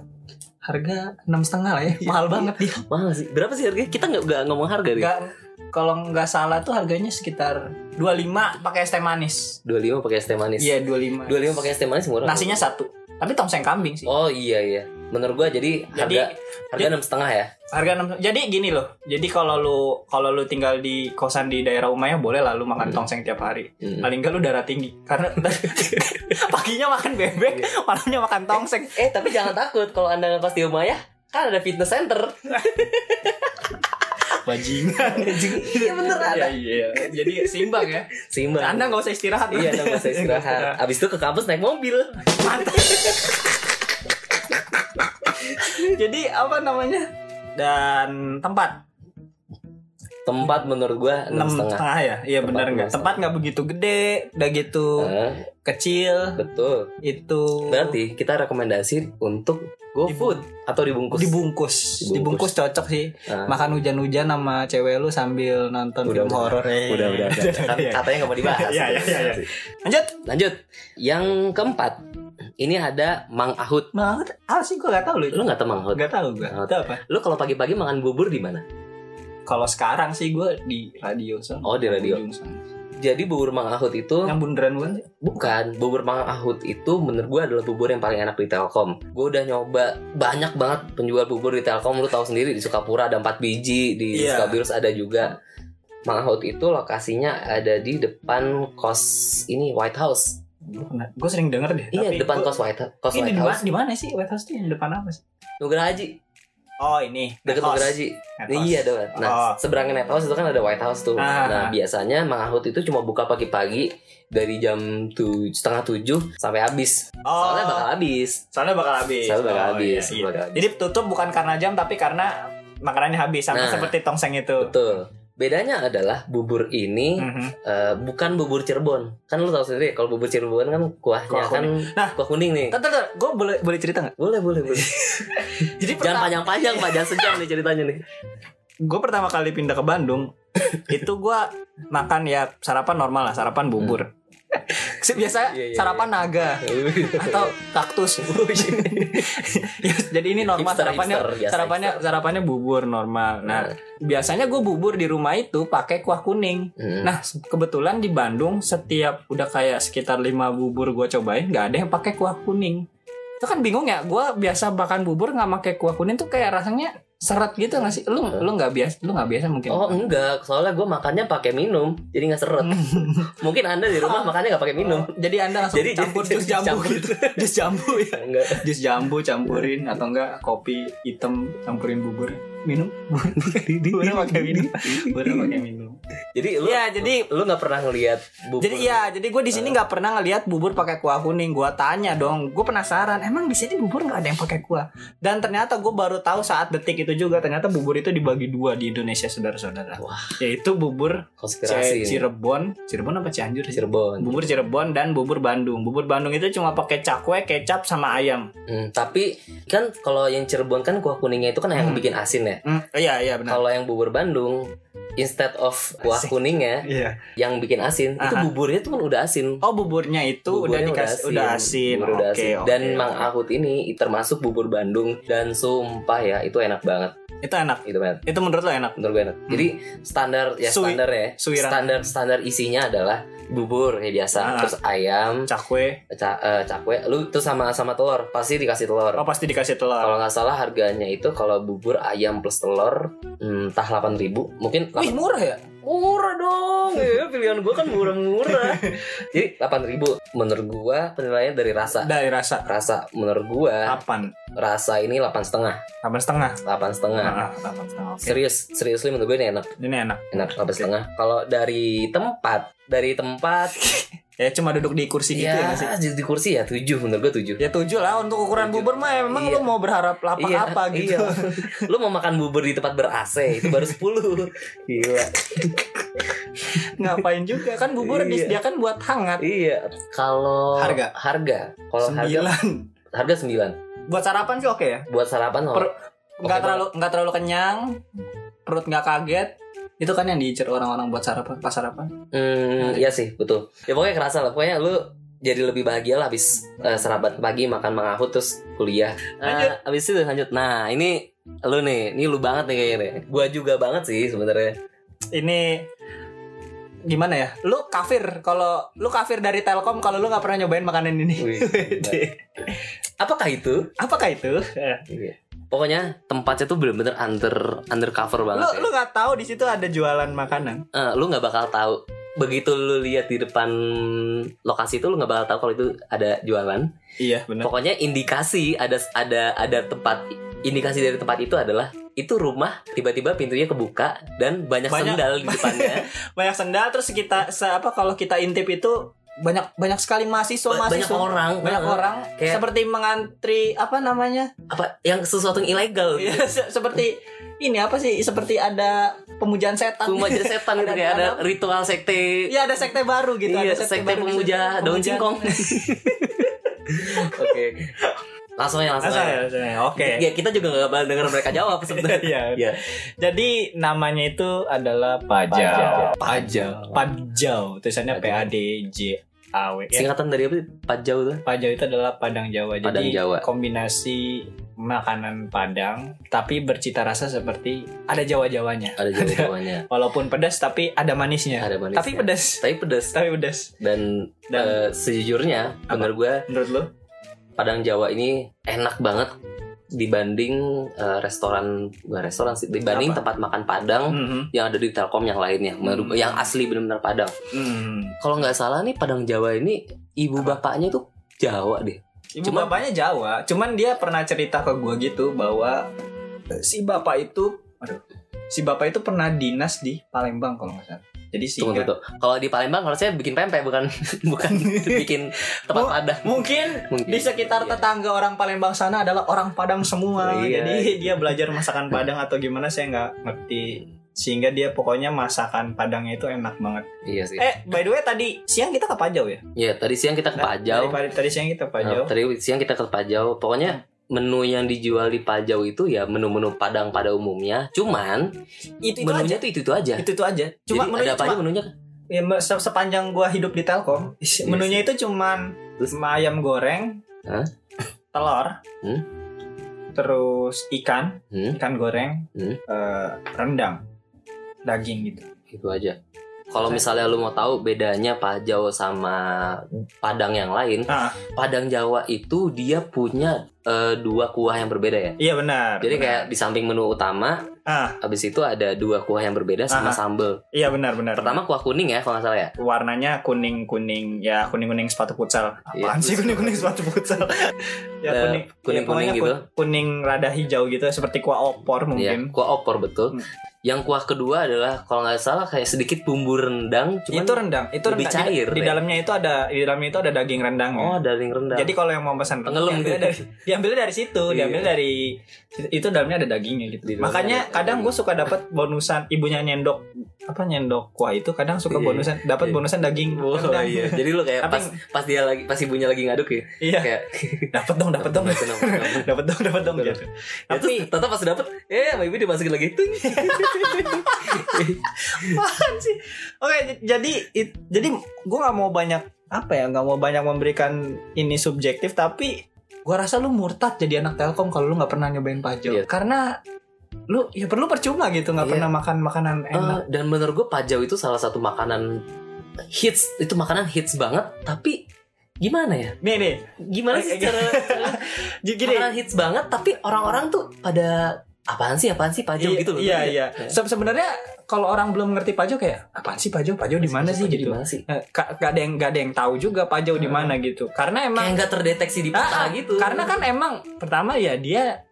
Speaker 3: harga enam setengah lah ya
Speaker 1: Iya,
Speaker 3: mahal
Speaker 1: iya.
Speaker 3: banget dia
Speaker 1: Mahal sih. Berapa sih harganya? Kita nggak nggak ngomong harga nih.
Speaker 3: nggak kalau nggak salah tuh harganya sekitar 25 pakai es teh manis
Speaker 1: 25 pakai es teh manis.
Speaker 3: iya 25
Speaker 1: 25 pakai es teh manis murah.
Speaker 3: nasinya satu tapi tongseng kambing sih
Speaker 1: Oh iya iya. Menurut gua jadi harga
Speaker 3: jadi
Speaker 1: harga enam setengah ya.
Speaker 3: harga enam jadi gini loh jadi kalau lu kalau lu tinggal di kosan di daerah Umaya boleh lah lu makan
Speaker 1: Hmm.
Speaker 3: tongseng tiap hari
Speaker 1: Hmm.
Speaker 3: paling enggak lu darah tinggi karena paginya makan bebek
Speaker 1: Iya.
Speaker 3: malamnya makan tongseng
Speaker 1: Eh tapi jangan takut kalau anda ngekos di rumah ya kan ada fitness center.
Speaker 3: bajingan
Speaker 1: Iya bener ada.
Speaker 2: Iya iya.
Speaker 3: jadi seimbang ya
Speaker 1: Seimbang.
Speaker 3: anda nggak usah istirahat
Speaker 1: Iya anda nggak usah istirahat. Abis itu ke kampus naik mobil.
Speaker 3: Mantap. Jadi apa namanya? Dan tempat
Speaker 1: Tempat menurut gua enam
Speaker 3: enam
Speaker 1: setengah.
Speaker 3: setengah ya, iya
Speaker 1: Tempat
Speaker 3: benar nggak?
Speaker 1: enam
Speaker 3: Tempat nggak begitu gede, udah gitu
Speaker 1: Eh,
Speaker 3: kecil,
Speaker 1: betul.
Speaker 3: itu
Speaker 1: Berarti kita rekomendasi untuk GoFood atau dibungkus.
Speaker 3: dibungkus.
Speaker 1: Dibungkus.
Speaker 3: dibungkus, cocok sih.
Speaker 1: Ah.
Speaker 3: Makan hujan-hujan sama cewek lu sambil nonton
Speaker 1: Udah,
Speaker 3: film
Speaker 1: udah.
Speaker 3: horor. Eh.
Speaker 1: Udah udah udah. Kan
Speaker 3: Iya.
Speaker 1: katanya nggak mau dibahas.
Speaker 3: Iya, iya, iya, iya. Lanjut.
Speaker 1: Lanjut. Yang keempat ini ada Mang Ahut.
Speaker 3: Banget. Ah sih gua nggak tahu lu.
Speaker 1: Lu nggak tahu Mang Ahut?
Speaker 3: Nggak tahu gua.
Speaker 1: Nggak
Speaker 3: Itu apa?
Speaker 1: Lu kalau pagi-pagi makan bubur di mana?
Speaker 3: Kalau sekarang sih gua di radio sana.
Speaker 1: Oh di radio.
Speaker 3: Ujung sana.
Speaker 1: Jadi bubur Mang Ahut itu
Speaker 3: Yang bundaran bukan sih?
Speaker 1: bukan bubur Mang Ahut itu menurut gue adalah bubur yang paling enak di Telkom. Gue udah nyoba banyak banget penjual bubur di Telkom. Lu tahu sendiri di Sukapura ada 4 biji, di
Speaker 3: Iya.
Speaker 1: Sukabirus ada juga. Mang Ahut itu lokasinya ada di depan kos ini White House.
Speaker 3: Gue sering denger deh.
Speaker 1: iya,
Speaker 3: tapi
Speaker 1: depan
Speaker 3: gua-
Speaker 1: kos White House. Kos White
Speaker 3: ini di mana
Speaker 1: House.
Speaker 3: di mana sih White House tuh yang depan apa sih?
Speaker 1: Nugraha Haji,
Speaker 3: Oh ini
Speaker 1: dekat Nugraha Haji. Iya dong. Nah,
Speaker 3: Oh.
Speaker 1: seberangnya Net House itu kan ada White House tuh.
Speaker 3: Ah.
Speaker 1: Nah, biasanya Mang Ahut itu cuma buka pagi-pagi dari jam tuj- setengah tujuh sampai habis. Nah, Soalnya bakal habis.
Speaker 3: oh. soalnya bakal habis.
Speaker 1: Soalnya bakal
Speaker 3: Oh,
Speaker 1: habis.
Speaker 3: iya, iya.
Speaker 1: bakal habis.
Speaker 3: Jadi tutup bukan karena jam tapi karena makanannya habis sama
Speaker 1: Nah.
Speaker 3: seperti tongseng itu.
Speaker 1: Betul. Bedanya adalah bubur ini
Speaker 3: Mhm.
Speaker 1: eh, bukan bubur Cirebon. Kan lu tahu sendiri kalau bubur Cirebon kan kuahnya
Speaker 3: Kuah
Speaker 1: kan
Speaker 3: kuning. Nah.
Speaker 1: kuah kuning nih.
Speaker 3: Tunggu, tunggu, gue boleh boleh cerita nggak?
Speaker 1: Boleh, boleh, boleh.
Speaker 3: Jadi
Speaker 1: Jangan panjang-panjang, Pak. Jangan sejam nih ceritanya nih.
Speaker 3: gue pertama kali pindah ke Bandung itu gue makan ya sarapan normal lah sarapan bubur. Biasa
Speaker 1: Hmm. Iya, iya,
Speaker 3: sarapan naga atau kaktus. Ya, jadi ini
Speaker 1: iya.
Speaker 3: normal
Speaker 1: Hipster,
Speaker 3: sarapannya
Speaker 1: hipster, biasa,
Speaker 3: sarapannya
Speaker 1: hipster.
Speaker 3: sarapannya bubur normal. Nah, biasanya gue bubur di rumah itu pakai kuah kuning.
Speaker 1: Hmm.
Speaker 3: Nah, se- kebetulan di Bandung setiap udah kayak sekitar 5 bubur gue cobain nggak ada yang pakai kuah kuning. Itu kan bingung ya, gue biasa makan bubur nggak pakai kuah kuning tuh kayak rasanya seret gitu nggak sih? Lu lu nggak biasa, lu nggak biasa mungkin.
Speaker 1: Oh enggak, soalnya gue makannya pakai minum, jadi nggak seret. Mungkin anda di
Speaker 3: Oh.
Speaker 1: rumah makannya nggak pakai minum.
Speaker 3: Jadi anda langsung
Speaker 1: Jadi-
Speaker 3: campur
Speaker 1: jadi
Speaker 3: jus jambu
Speaker 1: campur.
Speaker 3: gitu. Jus jambu ya.
Speaker 1: Enggak.
Speaker 3: Jus jambu campurin atau enggak kopi hitam campurin bubur. Minum. Bubur pakai minum. Bubur pakai minum.
Speaker 1: Jadi lu
Speaker 3: Iya, jadi
Speaker 1: lu nggak pernah ngelihat bubur.
Speaker 3: Jadi ya, jadi gue di sini nggak pernah ngelihat bubur pakai kuah kuning. Gue tanya dong, gue penasaran. Emang di sini bubur nggak ada yang pakai kuah? Dan ternyata gue baru tahu saat detik itu juga ternyata bubur itu dibagi dua di Indonesia saudara-saudara.
Speaker 1: Wah.
Speaker 3: Yaitu bubur
Speaker 1: konspirasi
Speaker 3: Ce-
Speaker 1: ini.
Speaker 3: Cirebon, Cirebon apa Cianjur? sih?
Speaker 1: Cirebon.
Speaker 3: Bubur Cirebon dan bubur Bandung. Bubur Bandung itu cuma pakai cakwe, kecap sama ayam.
Speaker 1: Hmm, tapi kan kalau yang Cirebon kan kuah kuningnya itu kan yang
Speaker 3: Hmm.
Speaker 1: bikin asin ya.
Speaker 3: Hmm, iya iya benar.
Speaker 1: Kalau yang bubur Bandung instead of kuah
Speaker 3: Asin.
Speaker 1: kuningnya
Speaker 3: Iya.
Speaker 1: yang bikin asin itu
Speaker 3: Aha.
Speaker 1: buburnya tuh kan udah asin.
Speaker 3: Oh buburnya itu
Speaker 1: Buburnya
Speaker 3: udah dikasih udah asin.
Speaker 1: Bubur udah
Speaker 3: Oke,
Speaker 1: asin.
Speaker 3: oke,
Speaker 1: Dan
Speaker 3: oke.
Speaker 1: Mang Ahut ini termasuk bubur Bandung dan sumpah ya itu enak banget.
Speaker 3: itu enak.
Speaker 1: Itu banget.
Speaker 3: Itu menurut lo enak?
Speaker 1: Menurut gue enak. Jadi standar ya
Speaker 3: Hmm. Sui-
Speaker 1: standar ya.
Speaker 3: suiran.
Speaker 1: Standar standar isinya adalah bubur kayak biasa,
Speaker 3: Ah.
Speaker 1: terus ayam,
Speaker 3: Cakwe.
Speaker 1: ca- eh, cakwe, lu terus sama sama telur, pasti dikasih telur.
Speaker 3: Oh pasti dikasih telur.
Speaker 1: Kalau nggak salah harganya itu kalau bubur ayam plus telur hmm, entah 8.000, mungkin 8
Speaker 3: Wih murah ya?
Speaker 1: murah dong. Ya, pilihan gua kan murah-murah. Jadi 8.000 menurut gua penilaiannya dari rasa.
Speaker 3: Dari rasa
Speaker 1: Rasa menurut gua
Speaker 3: Delapan
Speaker 1: rasa ini 8 setengah,
Speaker 3: Delapan setengah
Speaker 1: 8 setengah.
Speaker 3: Ah, Delapan setengah oke
Speaker 1: Serius, serius menurut gue ini enak,
Speaker 3: Ini enak
Speaker 1: enak 8
Speaker 3: Oke.
Speaker 1: setengah. Kalau dari tempat, dari tempat
Speaker 3: ya cuma duduk di kursi gitu ya
Speaker 1: ya,
Speaker 3: nggak sih?
Speaker 1: di- di kursi ya tujuh menurut gue tujuh
Speaker 3: ya tujuh lah untuk ukuran
Speaker 1: Tujuh.
Speaker 3: bubur mah emang
Speaker 1: Iya.
Speaker 3: lu mau berharap lapak
Speaker 1: Iya,
Speaker 3: apa
Speaker 1: iya.
Speaker 3: gitu
Speaker 1: lu mau makan bubur di tempat ber AC itu baru 10 gila
Speaker 3: ngapain juga kan bubur
Speaker 1: Iya.
Speaker 3: disediakan buat hangat
Speaker 1: iya kalau
Speaker 3: Harga?
Speaker 1: harga kalau harga
Speaker 3: sembilan
Speaker 1: harga sembilan
Speaker 3: buat sarapan sih oke ya
Speaker 1: buat sarapan oh.
Speaker 3: Per- nggak
Speaker 1: Oke
Speaker 3: terlalu nggak terlalu kenyang perut nggak kaget itu kan yang diincer orang-orang buat sarapan pas sarapan Nah.
Speaker 1: Hmm, iya sih, betul. Ya pokoknya kerasa lah. Pokoknya lu jadi lebih bahagia lah habis eh, sarapan pagi makan mangahut terus kuliah.
Speaker 3: Lanjut.
Speaker 1: Nah, habis itu lanjut. Nah, ini lu nih, ini lu banget nih kayaknya. nih. Gua juga banget sih sebenarnya.
Speaker 3: ini gimana ya lu kafir kalau lu kafir dari telkom kalau lu nggak pernah nyobain makanan ini
Speaker 1: Wih, gila. Apakah itu?
Speaker 3: apakah itu Iya.
Speaker 1: Pokoknya tempatnya tuh bener-bener under undercover
Speaker 3: lu
Speaker 1: banget. ya.
Speaker 3: lu nggak tahu di situ ada jualan makanan
Speaker 1: Eh, lu nggak bakal tahu. Begitu lu lihat di depan lokasi itu lu nggak bakal tahu kalau itu ada jualan.
Speaker 3: iya benar
Speaker 1: Pokoknya indikasi ada ada ada tempat indikasi dari tempat itu adalah itu rumah tiba-tiba pintunya kebuka dan banyak,
Speaker 3: Banyak-
Speaker 1: sendal di depannya.
Speaker 3: banyak sendal terus kita se- apa kalau kita intip itu banyak banyak sekali mahasiswa
Speaker 1: Ba- banyak
Speaker 3: mahasiswa
Speaker 1: orang,
Speaker 3: banyak
Speaker 1: eh,
Speaker 3: orang
Speaker 1: kayak-
Speaker 3: seperti mengantri apa namanya
Speaker 1: apa yang sesuatu yang ilegal.
Speaker 3: Iya, se- seperti ini apa sih seperti ada pemujaan setan
Speaker 1: Cuma jadi setan gitu
Speaker 3: Ada-
Speaker 1: kayak ada
Speaker 3: ada-
Speaker 1: ritual sekte.
Speaker 3: Iya ada sekte baru gitu
Speaker 1: iya,
Speaker 3: ada
Speaker 1: sekte,
Speaker 3: baru di situ.
Speaker 1: pemuja daun
Speaker 3: Pemujaan.
Speaker 1: cingkong. Oke. Langsung aja, langsung
Speaker 3: Asal
Speaker 1: aja.
Speaker 3: ya, asal ya. Oke.
Speaker 1: Ya kita juga gak bakal denger mereka jawab sebenarnya.
Speaker 3: Iya.
Speaker 1: Iya.
Speaker 3: Jadi namanya itu adalah
Speaker 2: Pajau.
Speaker 3: Pajau. Pajau. Tulisannya P
Speaker 1: Pajau.
Speaker 3: A D J A W. Ya,
Speaker 1: Singkatan dari apa? sih? Pajau tuh.
Speaker 3: Pajau itu adalah Padang Jawa.
Speaker 1: Padang
Speaker 3: Jadi
Speaker 1: Jawa.
Speaker 3: kombinasi makanan Padang tapi bercita rasa seperti ada Jawa-jawanya.
Speaker 1: Ada jawa-jawanya.
Speaker 3: Walaupun pedas tapi ada manisnya.
Speaker 1: Ada manisnya.
Speaker 3: Iya. Tapi pedas.
Speaker 1: Tapi pedas.
Speaker 3: Tapi pedas.
Speaker 1: Dan, eh,
Speaker 3: Dan-
Speaker 1: sejujurnya
Speaker 3: Apa?
Speaker 1: bener gue
Speaker 3: Menurut lo?
Speaker 1: Padang Jawa ini enak banget dibanding eh, restoran bukan restoran sih dibanding
Speaker 3: Apa?
Speaker 1: tempat makan Padang
Speaker 3: Mhm.
Speaker 1: yang ada di Telkom yang lainnya menurut gue,
Speaker 3: Hmm.
Speaker 1: yang asli benar-benar Padang.
Speaker 3: Mhm.
Speaker 1: Kalau nggak salah nih Padang Jawa ini ibu bapaknya tuh Jawa deh.
Speaker 3: Ibu
Speaker 1: Cuman-
Speaker 3: bapaknya Jawa, cuman dia pernah cerita ke gua gitu bahwa eh, si bapak itu, aduh, si bapak itu pernah dinas di Palembang kalau nggak salah. Jadi sih
Speaker 1: Tunggu tunggu. Kalau di Palembang harusnya bikin pempek bukan bukan bikin tempat
Speaker 3: Oh,
Speaker 1: Padang.
Speaker 3: mungkin
Speaker 1: Mungkin.
Speaker 3: di sekitar
Speaker 1: Iya.
Speaker 3: tetangga orang Palembang sana adalah orang Padang semua.
Speaker 1: Iya.
Speaker 3: Jadi dia belajar masakan Padang atau gimana saya nggak ngerti. Sehingga dia pokoknya masakan Padangnya itu enak banget.
Speaker 1: Iya sih.
Speaker 3: Eh, by the way tadi siang kita ke Pajau ya?
Speaker 1: Ya tadi siang kita ke Pajau.
Speaker 3: Dari- tadi siang kita ke Pajau.
Speaker 1: Nah, tadi siang kita ke Pajau. Pokoknya menu yang dijual di Pajau itu ya menu-menu Padang pada umumnya. Cuman
Speaker 3: itu itu aja.
Speaker 1: menunya tuh itu itu aja.
Speaker 3: Itu itu aja. Cuma
Speaker 1: Jadi
Speaker 3: menunya
Speaker 1: ada apa
Speaker 3: cuma-
Speaker 1: aja menunya?
Speaker 3: ya, me- se- sepanjang gua hidup di Telkom
Speaker 1: Iya
Speaker 3: menunya itu cuman
Speaker 1: Terus?
Speaker 3: ayam goreng
Speaker 1: Hah?
Speaker 3: telur
Speaker 1: Hmm?
Speaker 3: terus ikan
Speaker 1: Hmm,
Speaker 3: ikan goreng
Speaker 1: Hmm?
Speaker 3: eh, rendang daging gitu
Speaker 1: itu aja. Kalau misalnya lu mau tahu bedanya Pajau sama Padang yang lain,
Speaker 3: Ah.
Speaker 1: Padang Jawa itu dia punya eh, dua kuah yang berbeda ya.
Speaker 3: iya benar
Speaker 1: Jadi
Speaker 3: benar.
Speaker 1: kayak di samping menu utama,
Speaker 3: ah
Speaker 1: habis itu ada dua kuah yang berbeda sama
Speaker 3: Aha.
Speaker 1: sambel.
Speaker 3: iya benar benar
Speaker 1: Pertama kuah kuning ya kalau nggak salah ya.
Speaker 3: warnanya kuning kuning ya kuning kuning sepatu futsal
Speaker 1: Iya.
Speaker 3: apaan sih kuning kuning sepatu futsal ya
Speaker 1: Eh,
Speaker 3: kuning
Speaker 1: kuning-kuning
Speaker 3: ya, pokoknya
Speaker 1: gitu.
Speaker 3: kun- kuning rada hijau gitu seperti kuah
Speaker 1: Iya,
Speaker 3: opor mungkin
Speaker 1: kuah opor betul.
Speaker 3: Hmm.
Speaker 1: Yang kuah kedua adalah kalau nggak salah kayak sedikit bumbu rendang, cuman
Speaker 3: itu rendang itu
Speaker 1: lebih
Speaker 3: rendang. Di-
Speaker 1: cair,
Speaker 3: di,
Speaker 1: ya.
Speaker 3: dalamnya itu ada di dalamnya itu ada daging rendang ya.
Speaker 1: oh dari rendang.
Speaker 3: Jadi kalau yang mau pesan
Speaker 1: Tenggelam
Speaker 3: diambilnya
Speaker 1: gitu.
Speaker 3: dari, diambilnya dari situ,
Speaker 1: Iya.
Speaker 3: diambil dari itu dalamnya ada dagingnya gitu.
Speaker 1: Di dalamnya
Speaker 3: Makanya
Speaker 1: ada
Speaker 3: kadang
Speaker 1: daging.
Speaker 3: gue suka dapat bonusan ibunya nyendok apa nyendok kuah itu kadang suka
Speaker 1: Iya.
Speaker 3: bonusan dapat
Speaker 1: Iya.
Speaker 3: bonusan daging.
Speaker 1: Wah,
Speaker 3: rendang.
Speaker 1: iya. Jadi lu kayak
Speaker 3: Tapi
Speaker 1: pas pas dia lagi pas ibunya lagi ngaduk ya.
Speaker 3: iya
Speaker 1: Kayak
Speaker 3: dapat dong dapat dong
Speaker 1: Dapet dong, dapet dong.
Speaker 3: dapat dong dapat dong
Speaker 1: Bener.
Speaker 3: gitu.
Speaker 1: Ya,
Speaker 3: Tapi
Speaker 1: terus ternyata pas dapet eh sama ibu dimasukin lagi tuh
Speaker 3: apaan sih? Oke j- jadi it- jadi gue nggak mau banyak apa ya nggak mau banyak memberikan ini subjektif tapi gue rasa lu murtad jadi anak telkom kalau lu nggak pernah nyobain pajau
Speaker 1: Iya.
Speaker 3: karena lu ya perlu percuma gitu nggak
Speaker 1: Iya.
Speaker 3: pernah makan makanan enak
Speaker 1: Ah, dan menurut gue pajau itu salah satu makanan hits itu makanan hits banget tapi gimana ya
Speaker 3: nih nih
Speaker 1: gimana sih
Speaker 3: Eh, eh,
Speaker 1: cara, cara
Speaker 3: j- gini
Speaker 1: makanan hits banget tapi orang-orang tuh pada apaan sih apaan sih pajau
Speaker 3: iya,
Speaker 1: gitu loh
Speaker 3: iya
Speaker 1: Tapi
Speaker 3: iya
Speaker 1: Ya.
Speaker 3: Se- sebenarnya kalau orang belum ngerti pajau kayak apaan sih pajau pajau di mana sih
Speaker 1: Pajau
Speaker 3: gitu
Speaker 1: gimana sih
Speaker 3: Eh, ka- gak ada yang gak ada yang tahu juga pajau di
Speaker 1: Hmm.
Speaker 3: mana gitu karena emang
Speaker 1: kayak nggak terdeteksi di peta
Speaker 3: Ah, ah,
Speaker 1: gitu
Speaker 3: karena kan emang pertama ya dia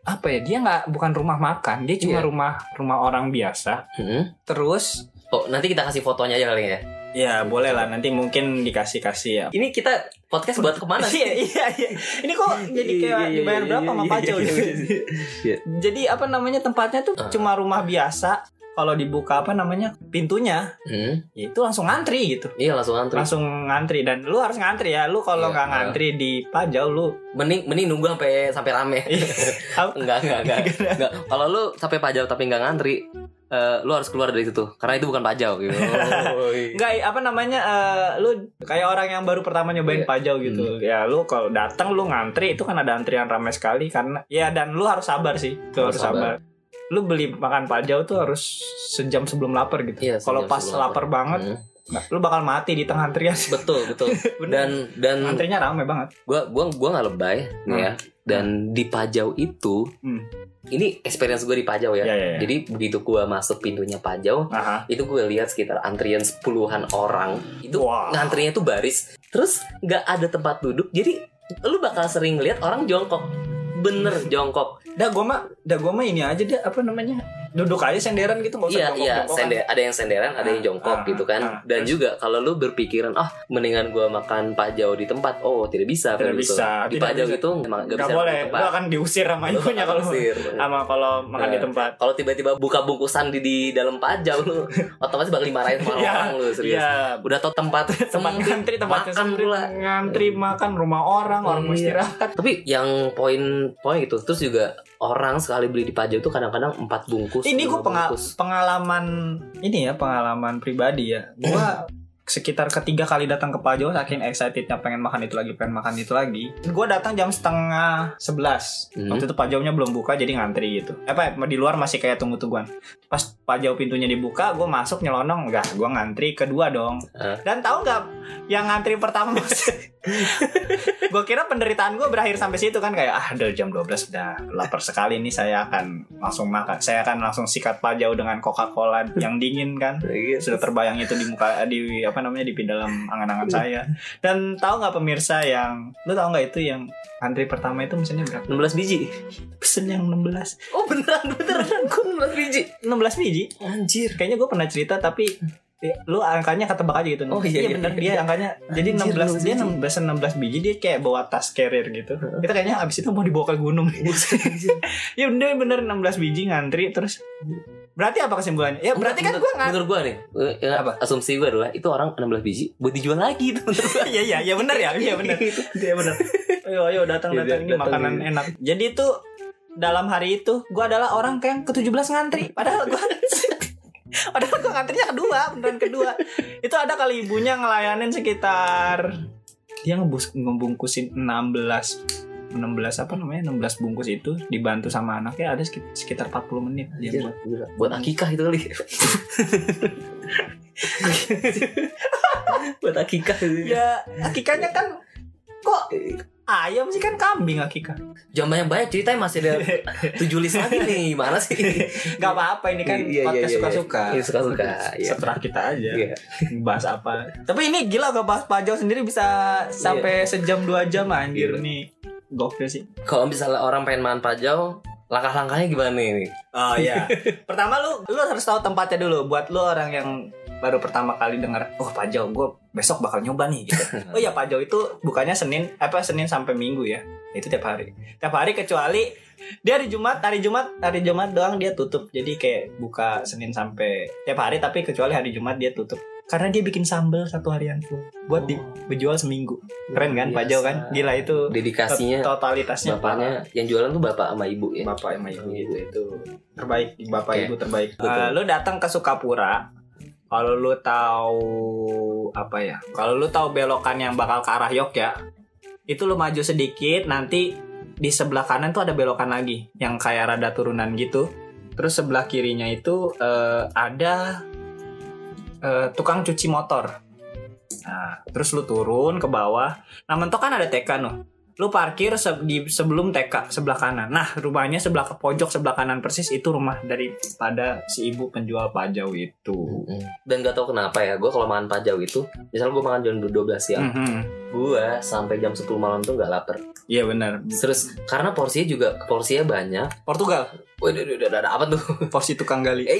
Speaker 3: apa ya dia nggak bukan rumah makan dia cuma
Speaker 1: Iya.
Speaker 3: rumah rumah orang biasa
Speaker 1: Hmm.
Speaker 3: terus
Speaker 1: oh nanti kita kasih fotonya aja kali ya
Speaker 3: Ya boleh lah nanti mungkin dikasih kasih ya.
Speaker 1: Ini kita podcast buat kemana sih?
Speaker 3: Iya iya iya. Ini kok jadi
Speaker 1: Iya,
Speaker 3: kayak
Speaker 1: iya,
Speaker 3: dibayar
Speaker 1: iya,
Speaker 3: berapa
Speaker 1: iya,
Speaker 3: sama
Speaker 1: iya,
Speaker 3: Paco? gitu?
Speaker 1: iya, iya, iya.
Speaker 3: Jadi apa namanya tempatnya tuh
Speaker 1: Ah.
Speaker 3: cuma rumah biasa. Kalau dibuka apa namanya pintunya,
Speaker 1: Hmm,
Speaker 3: ya itu langsung ngantri gitu.
Speaker 1: Iya langsung antri.
Speaker 3: Langsung ngantri dan lu harus ngantri ya. Lu kalau
Speaker 1: Iya,
Speaker 3: nggak
Speaker 1: ah.
Speaker 3: ngantri di Pajau lu
Speaker 1: Mending mending nunggu sampai sampai rame. enggak enggak enggak. enggak. Kalau lu sampai pajau tapi enggak ngantri, eh, lu harus keluar dari situ karena itu bukan pajau gitu.
Speaker 3: Enggak, apa namanya eh, lu kayak orang yang baru pertama nyobain
Speaker 1: Iya.
Speaker 3: pajau gitu. Ya lu kalau datang lu ngantri itu kan ada antrian ramai sekali karena ya dan lu harus sabar sih. Lu
Speaker 1: Harus
Speaker 3: harus sabar. Lu beli makan pajau tuh harus sejam sebelum lapar gitu.
Speaker 1: Iya,
Speaker 3: kalau
Speaker 1: sejam
Speaker 3: pas
Speaker 1: sebelum lapar.
Speaker 3: lapar banget
Speaker 1: Hmm,
Speaker 3: lu bakal mati di tengah antrian.
Speaker 1: betul betul.
Speaker 3: Bener.
Speaker 1: Dan dan
Speaker 3: antrinya ramai banget.
Speaker 1: gua gua gua nggak lebay nih ya. Dan di pajau itu
Speaker 3: Hmm.
Speaker 1: ini experience gue di pajau ya.
Speaker 3: Iya, iya, iya.
Speaker 1: Jadi begitu gua masuk pintunya pajau,
Speaker 3: Aha.
Speaker 1: itu gue lihat sekitar antrian sepuluhan orang. Itu
Speaker 3: Wah.
Speaker 1: ngantrinya tuh baris terus nggak ada tempat duduk jadi lu bakal sering lihat orang jongkok bener jongkok
Speaker 3: Dah gua mah dah gua mah ini aja dia apa namanya? Duduk aja senderan gitu enggak usah
Speaker 1: iya iya
Speaker 3: jongkok-jongkokan.
Speaker 1: sende- ada yang senderan ada yang
Speaker 3: Ah,
Speaker 1: jongkok
Speaker 3: ah,
Speaker 1: gitu
Speaker 3: ah.
Speaker 1: kan dan
Speaker 3: Terus?
Speaker 1: juga kalau lu berpikiran ah mendingan gua makan pajau di tempat oh tidak bisa
Speaker 3: Tidak
Speaker 1: kayak gitu.
Speaker 3: bisa,
Speaker 1: di
Speaker 3: tidak
Speaker 1: pajau
Speaker 3: bisa.
Speaker 1: itu emang nggak
Speaker 3: Nggak
Speaker 1: bisa
Speaker 3: boleh,
Speaker 1: di
Speaker 3: lu akan diusir sama
Speaker 1: Lu
Speaker 3: ibunya
Speaker 1: akan
Speaker 3: kalau
Speaker 1: usir.
Speaker 3: sama kalau makan di
Speaker 1: Eh.
Speaker 3: tempat.
Speaker 1: kalau tiba-tiba buka bungkusan di, di dalam pajau lu otomatis bakal dimarahin sama
Speaker 3: Iya,
Speaker 1: orang lu serius
Speaker 3: Iya,
Speaker 1: udah tau tempat
Speaker 3: tempat
Speaker 1: sempit,
Speaker 3: ngantri tempat
Speaker 1: makan pula
Speaker 3: ngantri makan rumah orang orang mau
Speaker 1: Iya.
Speaker 3: istirahat
Speaker 1: tapi yang poin poin itu terus juga orang sekali beli di pajau itu kadang-kadang empat bungkus
Speaker 3: ini
Speaker 1: lima
Speaker 3: gue pengal-
Speaker 1: bungkus.
Speaker 3: pengalaman ini ya pengalaman pribadi ya gue sekitar ketiga kali datang ke Pajau saking excitednya pengen makan itu lagi pengen makan itu lagi gue datang jam setengah sebelas
Speaker 1: Hmm.
Speaker 3: waktu itu Pajaunya belum buka jadi ngantri gitu apa ya, di luar masih kayak tunggu tungguan pas Pajau pintunya dibuka gue masuk nyelonong enggak gue ngantri kedua dong
Speaker 1: Eh.
Speaker 3: dan tahu nggak yang ngantri pertama gue kira penderitaan gue berakhir sampai situ kan kayak ah udah jam 12 udah lapar sekali nih saya akan langsung makan saya akan langsung sikat pajau dengan coca cola yang dingin kan sudah terbayang itu di muka di apa namanya di dalam angan-angan saya dan tahu nggak pemirsa yang lu tahu nggak itu yang antri pertama itu mesennya berapa
Speaker 1: 16 biji
Speaker 3: pesen yang 16
Speaker 1: oh beneran beneran gue 16 biji
Speaker 3: 16 biji
Speaker 1: anjir
Speaker 3: kayaknya gue pernah cerita tapi eh, lu angkanya ketebak aja gitu
Speaker 1: Oh, iya, iya,
Speaker 3: bener
Speaker 1: iya.
Speaker 3: dia angkanya jadi
Speaker 1: Anjir,
Speaker 3: 16 dia
Speaker 1: 16
Speaker 3: 16 16 biji dia kayak bawa tas carrier gitu kita kayaknya abis itu mau dibawa ke gunung ya bener bener 16 biji ngantri terus berarti apa kesimpulannya ya berarti kan gue ngantri
Speaker 1: Menurut gue nih eh, eh,
Speaker 3: Apa?
Speaker 1: Asumsi gue adalah Itu orang 16 biji Buat dijual lagi itu menurut gua.
Speaker 3: Iya iya iya benar ya, iya benar. Iya benar. Ayo ayo datang
Speaker 1: Iya,
Speaker 3: datang ini
Speaker 1: datang,
Speaker 3: makanan
Speaker 1: iya.
Speaker 3: enak. Jadi itu dalam hari itu gua adalah orang yang ke-17 ngantri padahal gua padahal gua ngantrinya kedua, beneran kedua. Itu ada kali ibunya ngelayanin sekitar dia ngebus, ngebungkusin 16 16 apa namanya 16 bungkus itu dibantu sama anaknya ada sekit- sekitar 40 menit dia
Speaker 1: Anjir,
Speaker 3: buat
Speaker 1: gila. Iya, Buat akikah itu kali Buat akikah itu.
Speaker 3: ya akikanya kan kok ayam sih kan kambing akika
Speaker 1: Jangan banyak-banyak ceritanya masih ada 7 list lagi nih Gimana sih
Speaker 3: Gak apa-apa ini kan
Speaker 1: Iya, iya,
Speaker 3: podcast
Speaker 1: iya, iya.
Speaker 3: suka-suka.
Speaker 1: Iya, suka-suka, iya.
Speaker 3: Seterah kita aja
Speaker 1: Iya.
Speaker 3: bahas apa. Tapi ini gila gak bahas pajau sendiri bisa sampai sejam dua jam anjir
Speaker 1: Gila.
Speaker 3: nih. Iya. Gokil sih.
Speaker 1: Kalau misalnya orang pengen makan pajau Langkah-langkahnya gimana nih
Speaker 3: Oh iya. pertama lu lu harus tahu tempatnya dulu buat lu orang yang baru pertama kali dengar oh pajau gue besok bakal nyoba nih gitu. oh iya pajau itu bukannya Senin apa Senin sampai Minggu ya. Itu tiap hari. Tiap hari kecuali dia hari Jumat, hari Jumat, hari Jumat doang dia tutup. Jadi kayak buka Senin sampai tiap hari tapi kecuali hari Jumat dia tutup. Karena dia bikin sambel satu harian full buat di- dijual seminggu. Keren
Speaker 1: Iya,
Speaker 3: kan pajau kan? Gila itu
Speaker 1: Dedikasinya
Speaker 3: totalitasnya
Speaker 1: Bapaknya Yang jualan tuh bapak sama ibu ya
Speaker 3: bapak sama ibu gitu itu terbaik bapak
Speaker 1: Oke.
Speaker 3: ibu terbaik
Speaker 1: Betul.
Speaker 3: Eh, lu datang ke Sukapura kalau lu tahu apa ya kalau lu tahu belokan yang bakal ke arah Yogya itu lu maju sedikit nanti di sebelah kanan tuh ada belokan lagi yang kayak rada turunan gitu terus sebelah kirinya itu eh, ada eh, tukang cuci motor nah terus lu turun ke bawah nah mentok kan ada TK noh lu parkir se- di sebelum TK sebelah kanan. Nah, rumahnya sebelah ke pojok sebelah kanan persis itu rumah daripada si ibu penjual
Speaker 2: Pajau itu.
Speaker 1: Mm-mm. Dan gak tau kenapa ya, gue kalau makan pajau itu, misalnya gue makan jam 12 siang,
Speaker 3: Mhm.
Speaker 1: gue sampai jam 10 malam tuh gak lapar.
Speaker 2: Iya benar.
Speaker 1: Terus karena porsinya juga porsinya banyak.
Speaker 3: Portugal,
Speaker 1: Waduh, waduh, waduh, ada apa tuh?
Speaker 3: porsi tukang gali.
Speaker 1: Eh,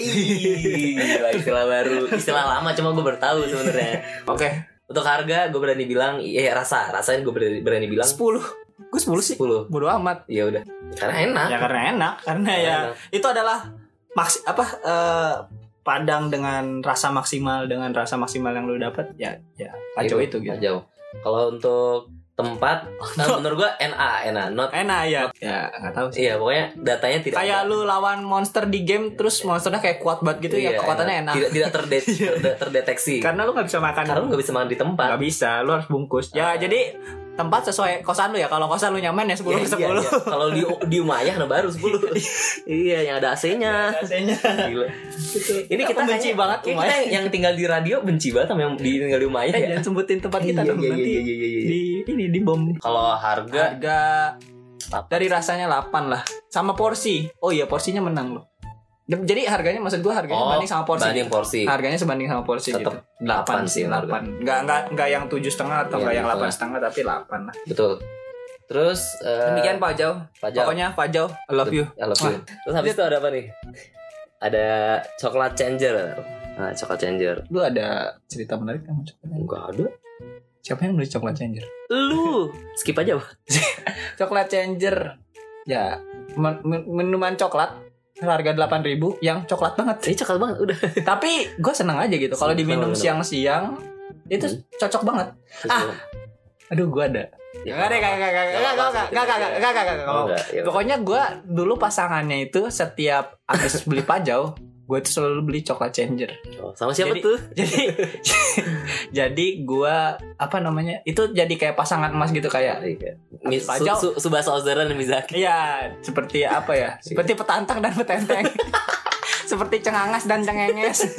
Speaker 1: gila, istilah baru, istilah lama cuma gue bertahu sebenarnya.
Speaker 2: Oke.
Speaker 1: Untuk harga gue berani bilang, eh rasa, rasanya gue berani, berani bilang
Speaker 3: 10. Gue 10 sih.
Speaker 1: 10
Speaker 3: Bodo amat.
Speaker 1: Ya udah, karena enak.
Speaker 3: Ya karena enak, karena ya
Speaker 1: Enak.
Speaker 3: itu adalah maks apa eh, padang dengan rasa maksimal dengan rasa maksimal yang lu dapat ya ya kacau itu gitu.
Speaker 1: Pajau. Kalau untuk tempat, nah, menurut gue NA, NA, not.
Speaker 3: Enak ya. Ya nggak tahu sih.
Speaker 1: Iya, pokoknya datanya tidak.
Speaker 3: Kayak
Speaker 1: ada.
Speaker 3: lu lawan monster di game terus monsternya kayak kuat banget gitu ya
Speaker 1: Iya,
Speaker 3: kekuatannya enak. Iya. Kan
Speaker 1: Tidak tidak terde- terde- terdeteksi.
Speaker 3: Karena lu nggak bisa makan.
Speaker 1: Karena lu nggak bisa makan di tempat.
Speaker 3: Nggak bisa, lu harus bungkus. Ya jadi tempat sesuai kosan lu ya. Kalau kosan lu nyaman ya 10
Speaker 1: Iya,
Speaker 3: ke
Speaker 1: iya,
Speaker 3: 10.
Speaker 1: iya. Kalau di di Umayah nah baru 10. iya, yang ada AC-nya.
Speaker 3: Rasanya
Speaker 1: Gila. Ini
Speaker 3: Aku
Speaker 1: kita
Speaker 3: Gitu. benci
Speaker 1: kayaknya-
Speaker 3: bangat
Speaker 1: kayak
Speaker 3: Umayah.
Speaker 1: Kita yang tinggal di radio benci banget sama yang di tinggal di Umayah
Speaker 3: Eh,
Speaker 1: ya.
Speaker 3: jangan sebutin tempat kita
Speaker 1: Iya,
Speaker 3: dong
Speaker 1: iya,
Speaker 3: nanti
Speaker 1: iya, iya, iya, iya.
Speaker 3: di ini di bom.
Speaker 1: Kalau harga
Speaker 3: Harga dari rasanya 8 lah sama porsi. Oh iya porsinya menang loh. Jadi harganya maksud gua harganya
Speaker 1: Oh,
Speaker 3: banding sama porsi.
Speaker 1: banding
Speaker 3: gitu.
Speaker 1: porsi.
Speaker 3: Harganya sebanding sama porsi
Speaker 1: Tetep
Speaker 3: gitu.
Speaker 1: 8 sih harga.
Speaker 3: 8. Enggak enggak enggak yang 7 setengah atau
Speaker 1: Iya,
Speaker 3: enggak yang
Speaker 1: gitu
Speaker 3: 8
Speaker 1: lah.
Speaker 3: setengah tapi 8 lah.
Speaker 1: Betul. Terus eh,
Speaker 3: Demikian Pak Jau.
Speaker 1: pajak.
Speaker 3: Pokoknya Pak Jau, I love you.
Speaker 1: I love you. Terus habis itu ada apa nih? Ada coklat changer. Nah, coklat changer.
Speaker 3: Lu ada cerita menarik sama coklat?
Speaker 1: Enggak ada.
Speaker 3: Siapa yang nulis coklat changer?
Speaker 1: Lu skip aja, Pak.
Speaker 3: Coklat changer. Ya, men- men- minuman coklat harga 8000 yang coklat banget.
Speaker 1: Ini coklat banget udah.
Speaker 3: Tapi gue seneng aja gitu kalau diminum
Speaker 1: Seneng,
Speaker 3: siang-siang itu cocok banget. Ah. Aduh gue ada.
Speaker 1: Ya,
Speaker 3: Enggak deh, enggak enggak enggak enggak enggak enggak enggak enggak enggak enggak enggak,
Speaker 1: Oh,
Speaker 3: enggak.
Speaker 1: enggak, ya.
Speaker 3: Pokoknya gue dulu pasangannya itu setiap habis beli pajau gue tuh selalu beli coklat changer.
Speaker 1: Oh, sama siapa
Speaker 3: Jadi-
Speaker 1: tuh?
Speaker 3: Jadi jadi gue apa namanya itu jadi kayak pasangan emas gitu kayak.
Speaker 1: Mis- Su,
Speaker 3: Pajau.
Speaker 1: su, Subasa Ozora dan Mizaki.
Speaker 3: Iya seperti apa ya? Seperti petantang dan petenteng. seperti cengangas dan cengenges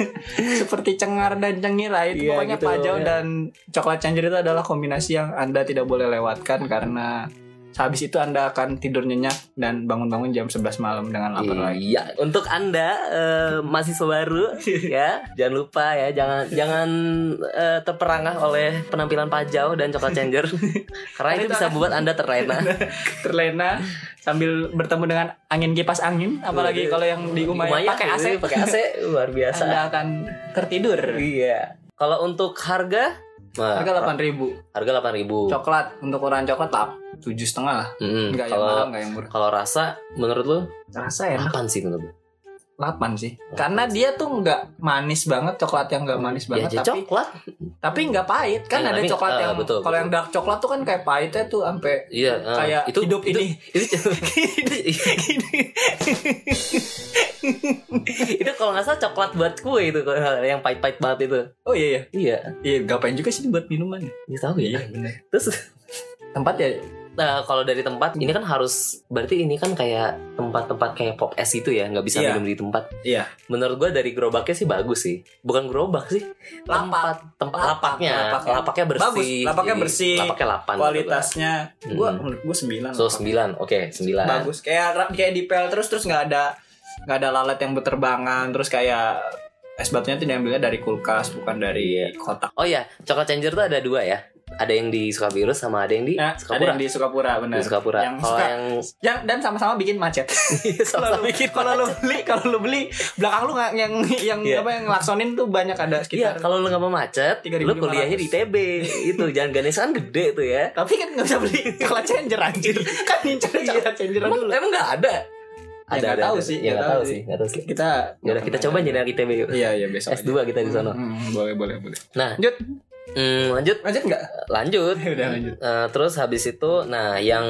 Speaker 3: seperti cengar dan cengila
Speaker 1: Iya,
Speaker 3: itu pokoknya
Speaker 1: gitu,
Speaker 3: pajau
Speaker 1: ya.
Speaker 3: dan coklat changer itu adalah kombinasi yang anda tidak boleh lewatkan karena sehabis itu anda akan tidur nyenyak dan bangun-bangun jam 11 malam dengan lapar lagi
Speaker 1: Iya, untuk Anda eh, mahasiswa baru ya, jangan lupa ya, jangan jangan eh, terperangah oleh penampilan Pajau dan Coklat Changer. Karena itu bisa buat Anda terlena.
Speaker 3: terlena sambil bertemu dengan angin kipas angin apalagi kalau yang di Umaya
Speaker 1: Lumayan
Speaker 3: pakai AC
Speaker 1: tuh, pakai AC luar biasa.
Speaker 3: anda akan tertidur
Speaker 1: Iya. Kalau untuk harga Wah,
Speaker 3: harga 8000
Speaker 1: harga 8000.
Speaker 3: coklat untuk orang coklat lah tujuh setengah lah
Speaker 1: Mm-mm.
Speaker 3: nggak yang ya, mahal
Speaker 1: Kalau
Speaker 3: nggak yang murah
Speaker 1: kalau rasa menurut lu
Speaker 3: rasa enak
Speaker 1: 8 sih menurut lu?
Speaker 3: 8 sih. Karena dia tuh nggak manis banget, coklat yang nggak manis
Speaker 1: Ya, jadi
Speaker 3: banget tapi
Speaker 1: coklat.
Speaker 3: tapi nggak pahit. Kan
Speaker 1: Iya,
Speaker 3: ada
Speaker 1: tapi-
Speaker 3: coklat
Speaker 1: ah,
Speaker 3: yang
Speaker 1: betul,
Speaker 3: kalau
Speaker 1: betul.
Speaker 3: yang dark coklat tuh kan kayak pahitnya tuh sampai
Speaker 1: Iya, eh,
Speaker 3: kayak
Speaker 1: itu
Speaker 3: hidup
Speaker 1: itu,
Speaker 3: ini.
Speaker 1: itu itu kalau nggak salah coklat buat kue itu kalau yang pahit-pahit banget itu
Speaker 3: Oh iya iya.
Speaker 1: iya
Speaker 3: Iya, gapain juga sih buat minuman.
Speaker 1: ini tahu ya
Speaker 3: bener.
Speaker 1: terus
Speaker 3: Tempat ya
Speaker 1: nah, kalau dari tempat ini kan harus berarti ini kan kayak tempat-tempat kayak pop es itu ya nggak bisa
Speaker 3: Iya.
Speaker 1: minum di tempat
Speaker 3: Iya.
Speaker 1: menurut gua dari gerobaknya sih bagus sih bukan gerobak sih tempat
Speaker 3: Lapak.
Speaker 1: tempat
Speaker 3: Lapak,
Speaker 1: lapaknya
Speaker 3: lapaknya.
Speaker 1: lapaknya bersih
Speaker 3: Bagus, lapaknya
Speaker 1: Jadi,
Speaker 3: bersih.
Speaker 1: lapaknya lapan
Speaker 3: kualitasnya
Speaker 1: Hmm.
Speaker 3: gua menurut gua 9.
Speaker 1: so sembilan oke sembilan
Speaker 3: Bagus. Kayak ra- kayak dipel terus terus nggak ada nggak ada lalat yang berterbangan terus kayak es batunya tuh diambilnya dari kulkas bukan dari kotak.
Speaker 1: oh ya coklat changer tuh ada dua ya ada yang di Sukabirus sama ada yang di Iya,
Speaker 3: Nah, ada
Speaker 1: Sukapura
Speaker 3: yang di Sukapura benar.
Speaker 1: di Sukapura.
Speaker 3: Yang
Speaker 1: Kalau
Speaker 3: suka-
Speaker 1: yang
Speaker 3: Yang dan sama-sama bikin macet. kalau lu bikin kalau lu beli kalau lu beli belakang lu nggak yang yang
Speaker 1: Iya.
Speaker 3: apa yang laksonin tuh banyak ada
Speaker 1: Iya,
Speaker 3: sekitar
Speaker 1: kalau lu nggak mau macet,
Speaker 3: 3.500.
Speaker 1: lu kuliahnya di TB. itu jangan ganes kan gede tuh ya.
Speaker 3: tapi kan nggak bisa beli coklat changer anjir
Speaker 1: Iya.
Speaker 3: kan ngincer coklat changer
Speaker 1: Emang,
Speaker 3: dulu
Speaker 1: emang nggak ada.
Speaker 3: Ya, nggak tahu sih,
Speaker 1: Ya nggak
Speaker 3: nggak tahu
Speaker 1: tahu
Speaker 3: sih.
Speaker 1: sih, nggak tahu sih.
Speaker 3: kita
Speaker 1: Ya udah kita coba aja dari ITB yuk.
Speaker 3: iya iya besok
Speaker 1: S2 kita di sana.
Speaker 3: Hmm, boleh boleh boleh
Speaker 1: Nah,
Speaker 3: lanjut
Speaker 1: hmm, lanjut,
Speaker 3: lanjut nggak
Speaker 1: lanjut.
Speaker 3: udah lanjut
Speaker 1: Eh, terus habis itu, nah yang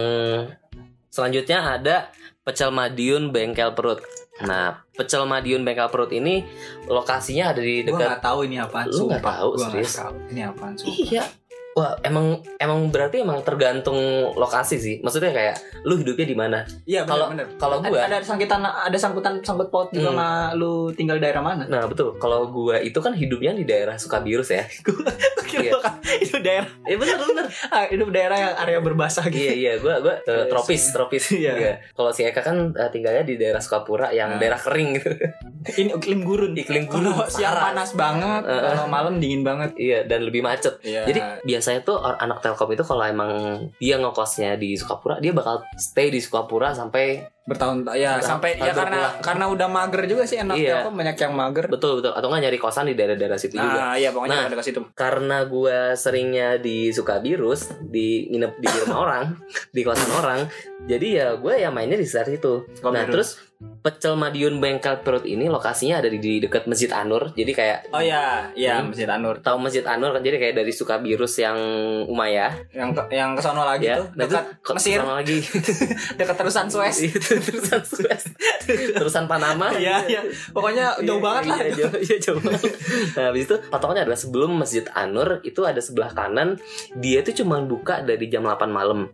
Speaker 1: selanjutnya ada pecel Madiun Bengkel Perut. Nah, pecel Madiun Bengkel Perut ini lokasinya ada di
Speaker 3: gue
Speaker 1: dekat
Speaker 3: nggak tahu ini apaan
Speaker 1: Lu nggak
Speaker 3: sumpah.
Speaker 1: tahu,
Speaker 3: Gua nggak
Speaker 1: serius?
Speaker 3: tahu ini apaan sumpah.
Speaker 1: Iya, Wah, emang emang berarti emang tergantung lokasi sih. Maksudnya kayak lu hidupnya di mana?
Speaker 4: Iya
Speaker 1: Kalau
Speaker 4: benar.
Speaker 1: kalau
Speaker 4: Ada,
Speaker 1: gua
Speaker 4: ada sangkutan ada sangkutan sangkut paut juga
Speaker 1: Hmm.
Speaker 4: sama lu tinggal daerah mana?
Speaker 1: Nah betul, kalau gua itu kan hidupnya di daerah Sukabirus ya Iya.
Speaker 4: kan, itu daerah
Speaker 1: Ya bener bener
Speaker 4: ah, itu daerah yang area berbahasa gitu.
Speaker 1: Iya iya, gua, gua eh, tropis, tropis
Speaker 4: Iya.
Speaker 1: Iya. Kalau si Eka kan eh, tinggalnya di daerah Sukapura yang
Speaker 3: Nah.
Speaker 1: daerah kering gitu
Speaker 4: Ini iklim gurun.
Speaker 1: Iklim gurun
Speaker 4: Kalau siang
Speaker 1: parah.
Speaker 4: panas banget,
Speaker 1: Eh.
Speaker 4: kalau malam dingin banget.
Speaker 1: Iya, dan lebih macet
Speaker 3: Iya.
Speaker 1: Jadi biasanya tuh or- anak Telkom itu kalau emang dia ngekosnya di Sukapura Dia bakal stay di Sukapura sampai
Speaker 4: Bertahun ya
Speaker 1: Bertahun-
Speaker 4: sampai ya
Speaker 1: bertahun
Speaker 4: karena karena udah mager juga sih enak
Speaker 1: Iya.
Speaker 4: apa banyak yang mager.
Speaker 1: Betul, betul Atau nggak nyari kosan di daerah-daerah situ juga
Speaker 3: nah iya
Speaker 1: Nah.
Speaker 3: pokoknya ada ke situ
Speaker 1: karena gue seringnya di Sukabirus di nginep di rumah orang di kosan orang jadi ya gue ya mainnya di sekitar itu nah
Speaker 3: Sukabirus.
Speaker 1: terus pecel Madiun Bengkel Perut ini lokasinya ada di, di dekat Masjid Anur jadi kayak
Speaker 3: oh iya iya
Speaker 1: Hmm.
Speaker 3: masjid Anur
Speaker 1: tahu Masjid Anur kan jadi kayak dari Sukabirus yang Umayyah
Speaker 4: Yang ke, yang ke sono lagi
Speaker 1: ya
Speaker 4: tuh Ah, gitu? dekat
Speaker 1: ke-
Speaker 4: Mesir.
Speaker 1: kesana lagi
Speaker 4: dekat terusan Suez.
Speaker 1: Itu, terusan Suez. terusan Panama
Speaker 4: Iya, iya. Pokoknya jauh
Speaker 1: Iya,
Speaker 4: banget lah.
Speaker 1: iya, jauh, iya, jauh banget. nah habis itu patokannya adalah sebelum masjid Anur itu ada sebelah kanan dia itu cuma buka dari jam 8 malam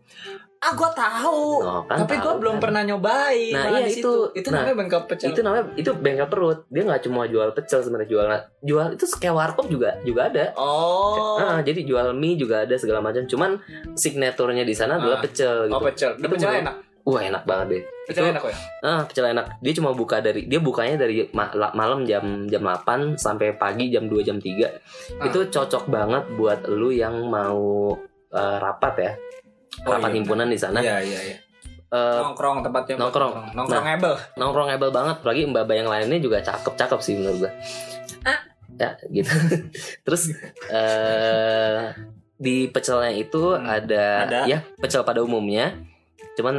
Speaker 4: Ah, gua tahu.
Speaker 1: Oh, kan
Speaker 4: Tapi gua
Speaker 1: tahu,
Speaker 4: belum
Speaker 1: kan.
Speaker 4: pernah nyobain.
Speaker 1: Nah,
Speaker 4: malah di
Speaker 1: iya, itu.
Speaker 4: situ. Itu
Speaker 1: Nah,
Speaker 4: namanya bengkel pecel.
Speaker 1: itu namanya itu bengkel perut dia nggak cuma jual pecel sebenarnya jual jual itu kayak warkop juga juga ada
Speaker 4: Oh.
Speaker 1: Ah, jadi jual mie juga ada segala macam cuman signaturnya di sana
Speaker 4: Ah.
Speaker 1: adalah pecel
Speaker 4: Oh,
Speaker 1: gitu
Speaker 4: pecel. Itu
Speaker 1: Itu
Speaker 4: pecel
Speaker 1: menurut-
Speaker 4: enak.
Speaker 1: wah enak banget deh
Speaker 4: Pecel
Speaker 1: Itu-
Speaker 4: enak kok ya.
Speaker 1: ah pecel enak dia cuma buka dari dia bukanya dari ma- la- malam jam jam 8 sampai pagi jam 2 jam 3
Speaker 4: Ah.
Speaker 1: itu cocok banget buat lu yang mau eh, rapat ya
Speaker 3: Oh,
Speaker 1: rapat
Speaker 3: iya.
Speaker 1: himpunan di sana
Speaker 3: iya iya iya
Speaker 1: Eh,
Speaker 4: Nongkrong tempatnya. buat
Speaker 1: nongkrong. Nah,
Speaker 4: Nongkrong ebel.
Speaker 1: nongkrong ebel banget apalagi mbak mbak yang lainnya juga cakep cakep sih menurut gua
Speaker 4: Ah.
Speaker 1: ya gitu terus eh di pecelnya itu
Speaker 3: Hmm,
Speaker 1: ada,
Speaker 3: ada.
Speaker 1: ya pecel pada umumnya cuman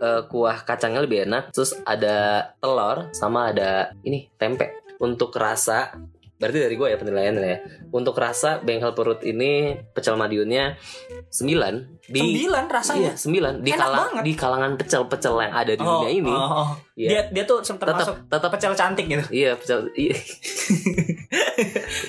Speaker 1: eh, kuah kacangnya lebih enak terus ada telur sama ada ini tempe untuk rasa berarti dari gua ya penilaiannya ya untuk rasa bengkel perut ini pecel madiunnya 9 di
Speaker 4: Sembilan rasanya.
Speaker 1: Iya, 9 di,
Speaker 4: Enak
Speaker 1: kala-
Speaker 4: banget.
Speaker 1: di kalangan pecel-pecel yang ada di
Speaker 4: Oh,
Speaker 1: dunia ini.
Speaker 4: oh, oh.
Speaker 1: Iya.
Speaker 4: Dia dia tuh termasuk
Speaker 1: tetap tetap
Speaker 4: pecel cantik gitu.
Speaker 1: Iya, pecel. Iya.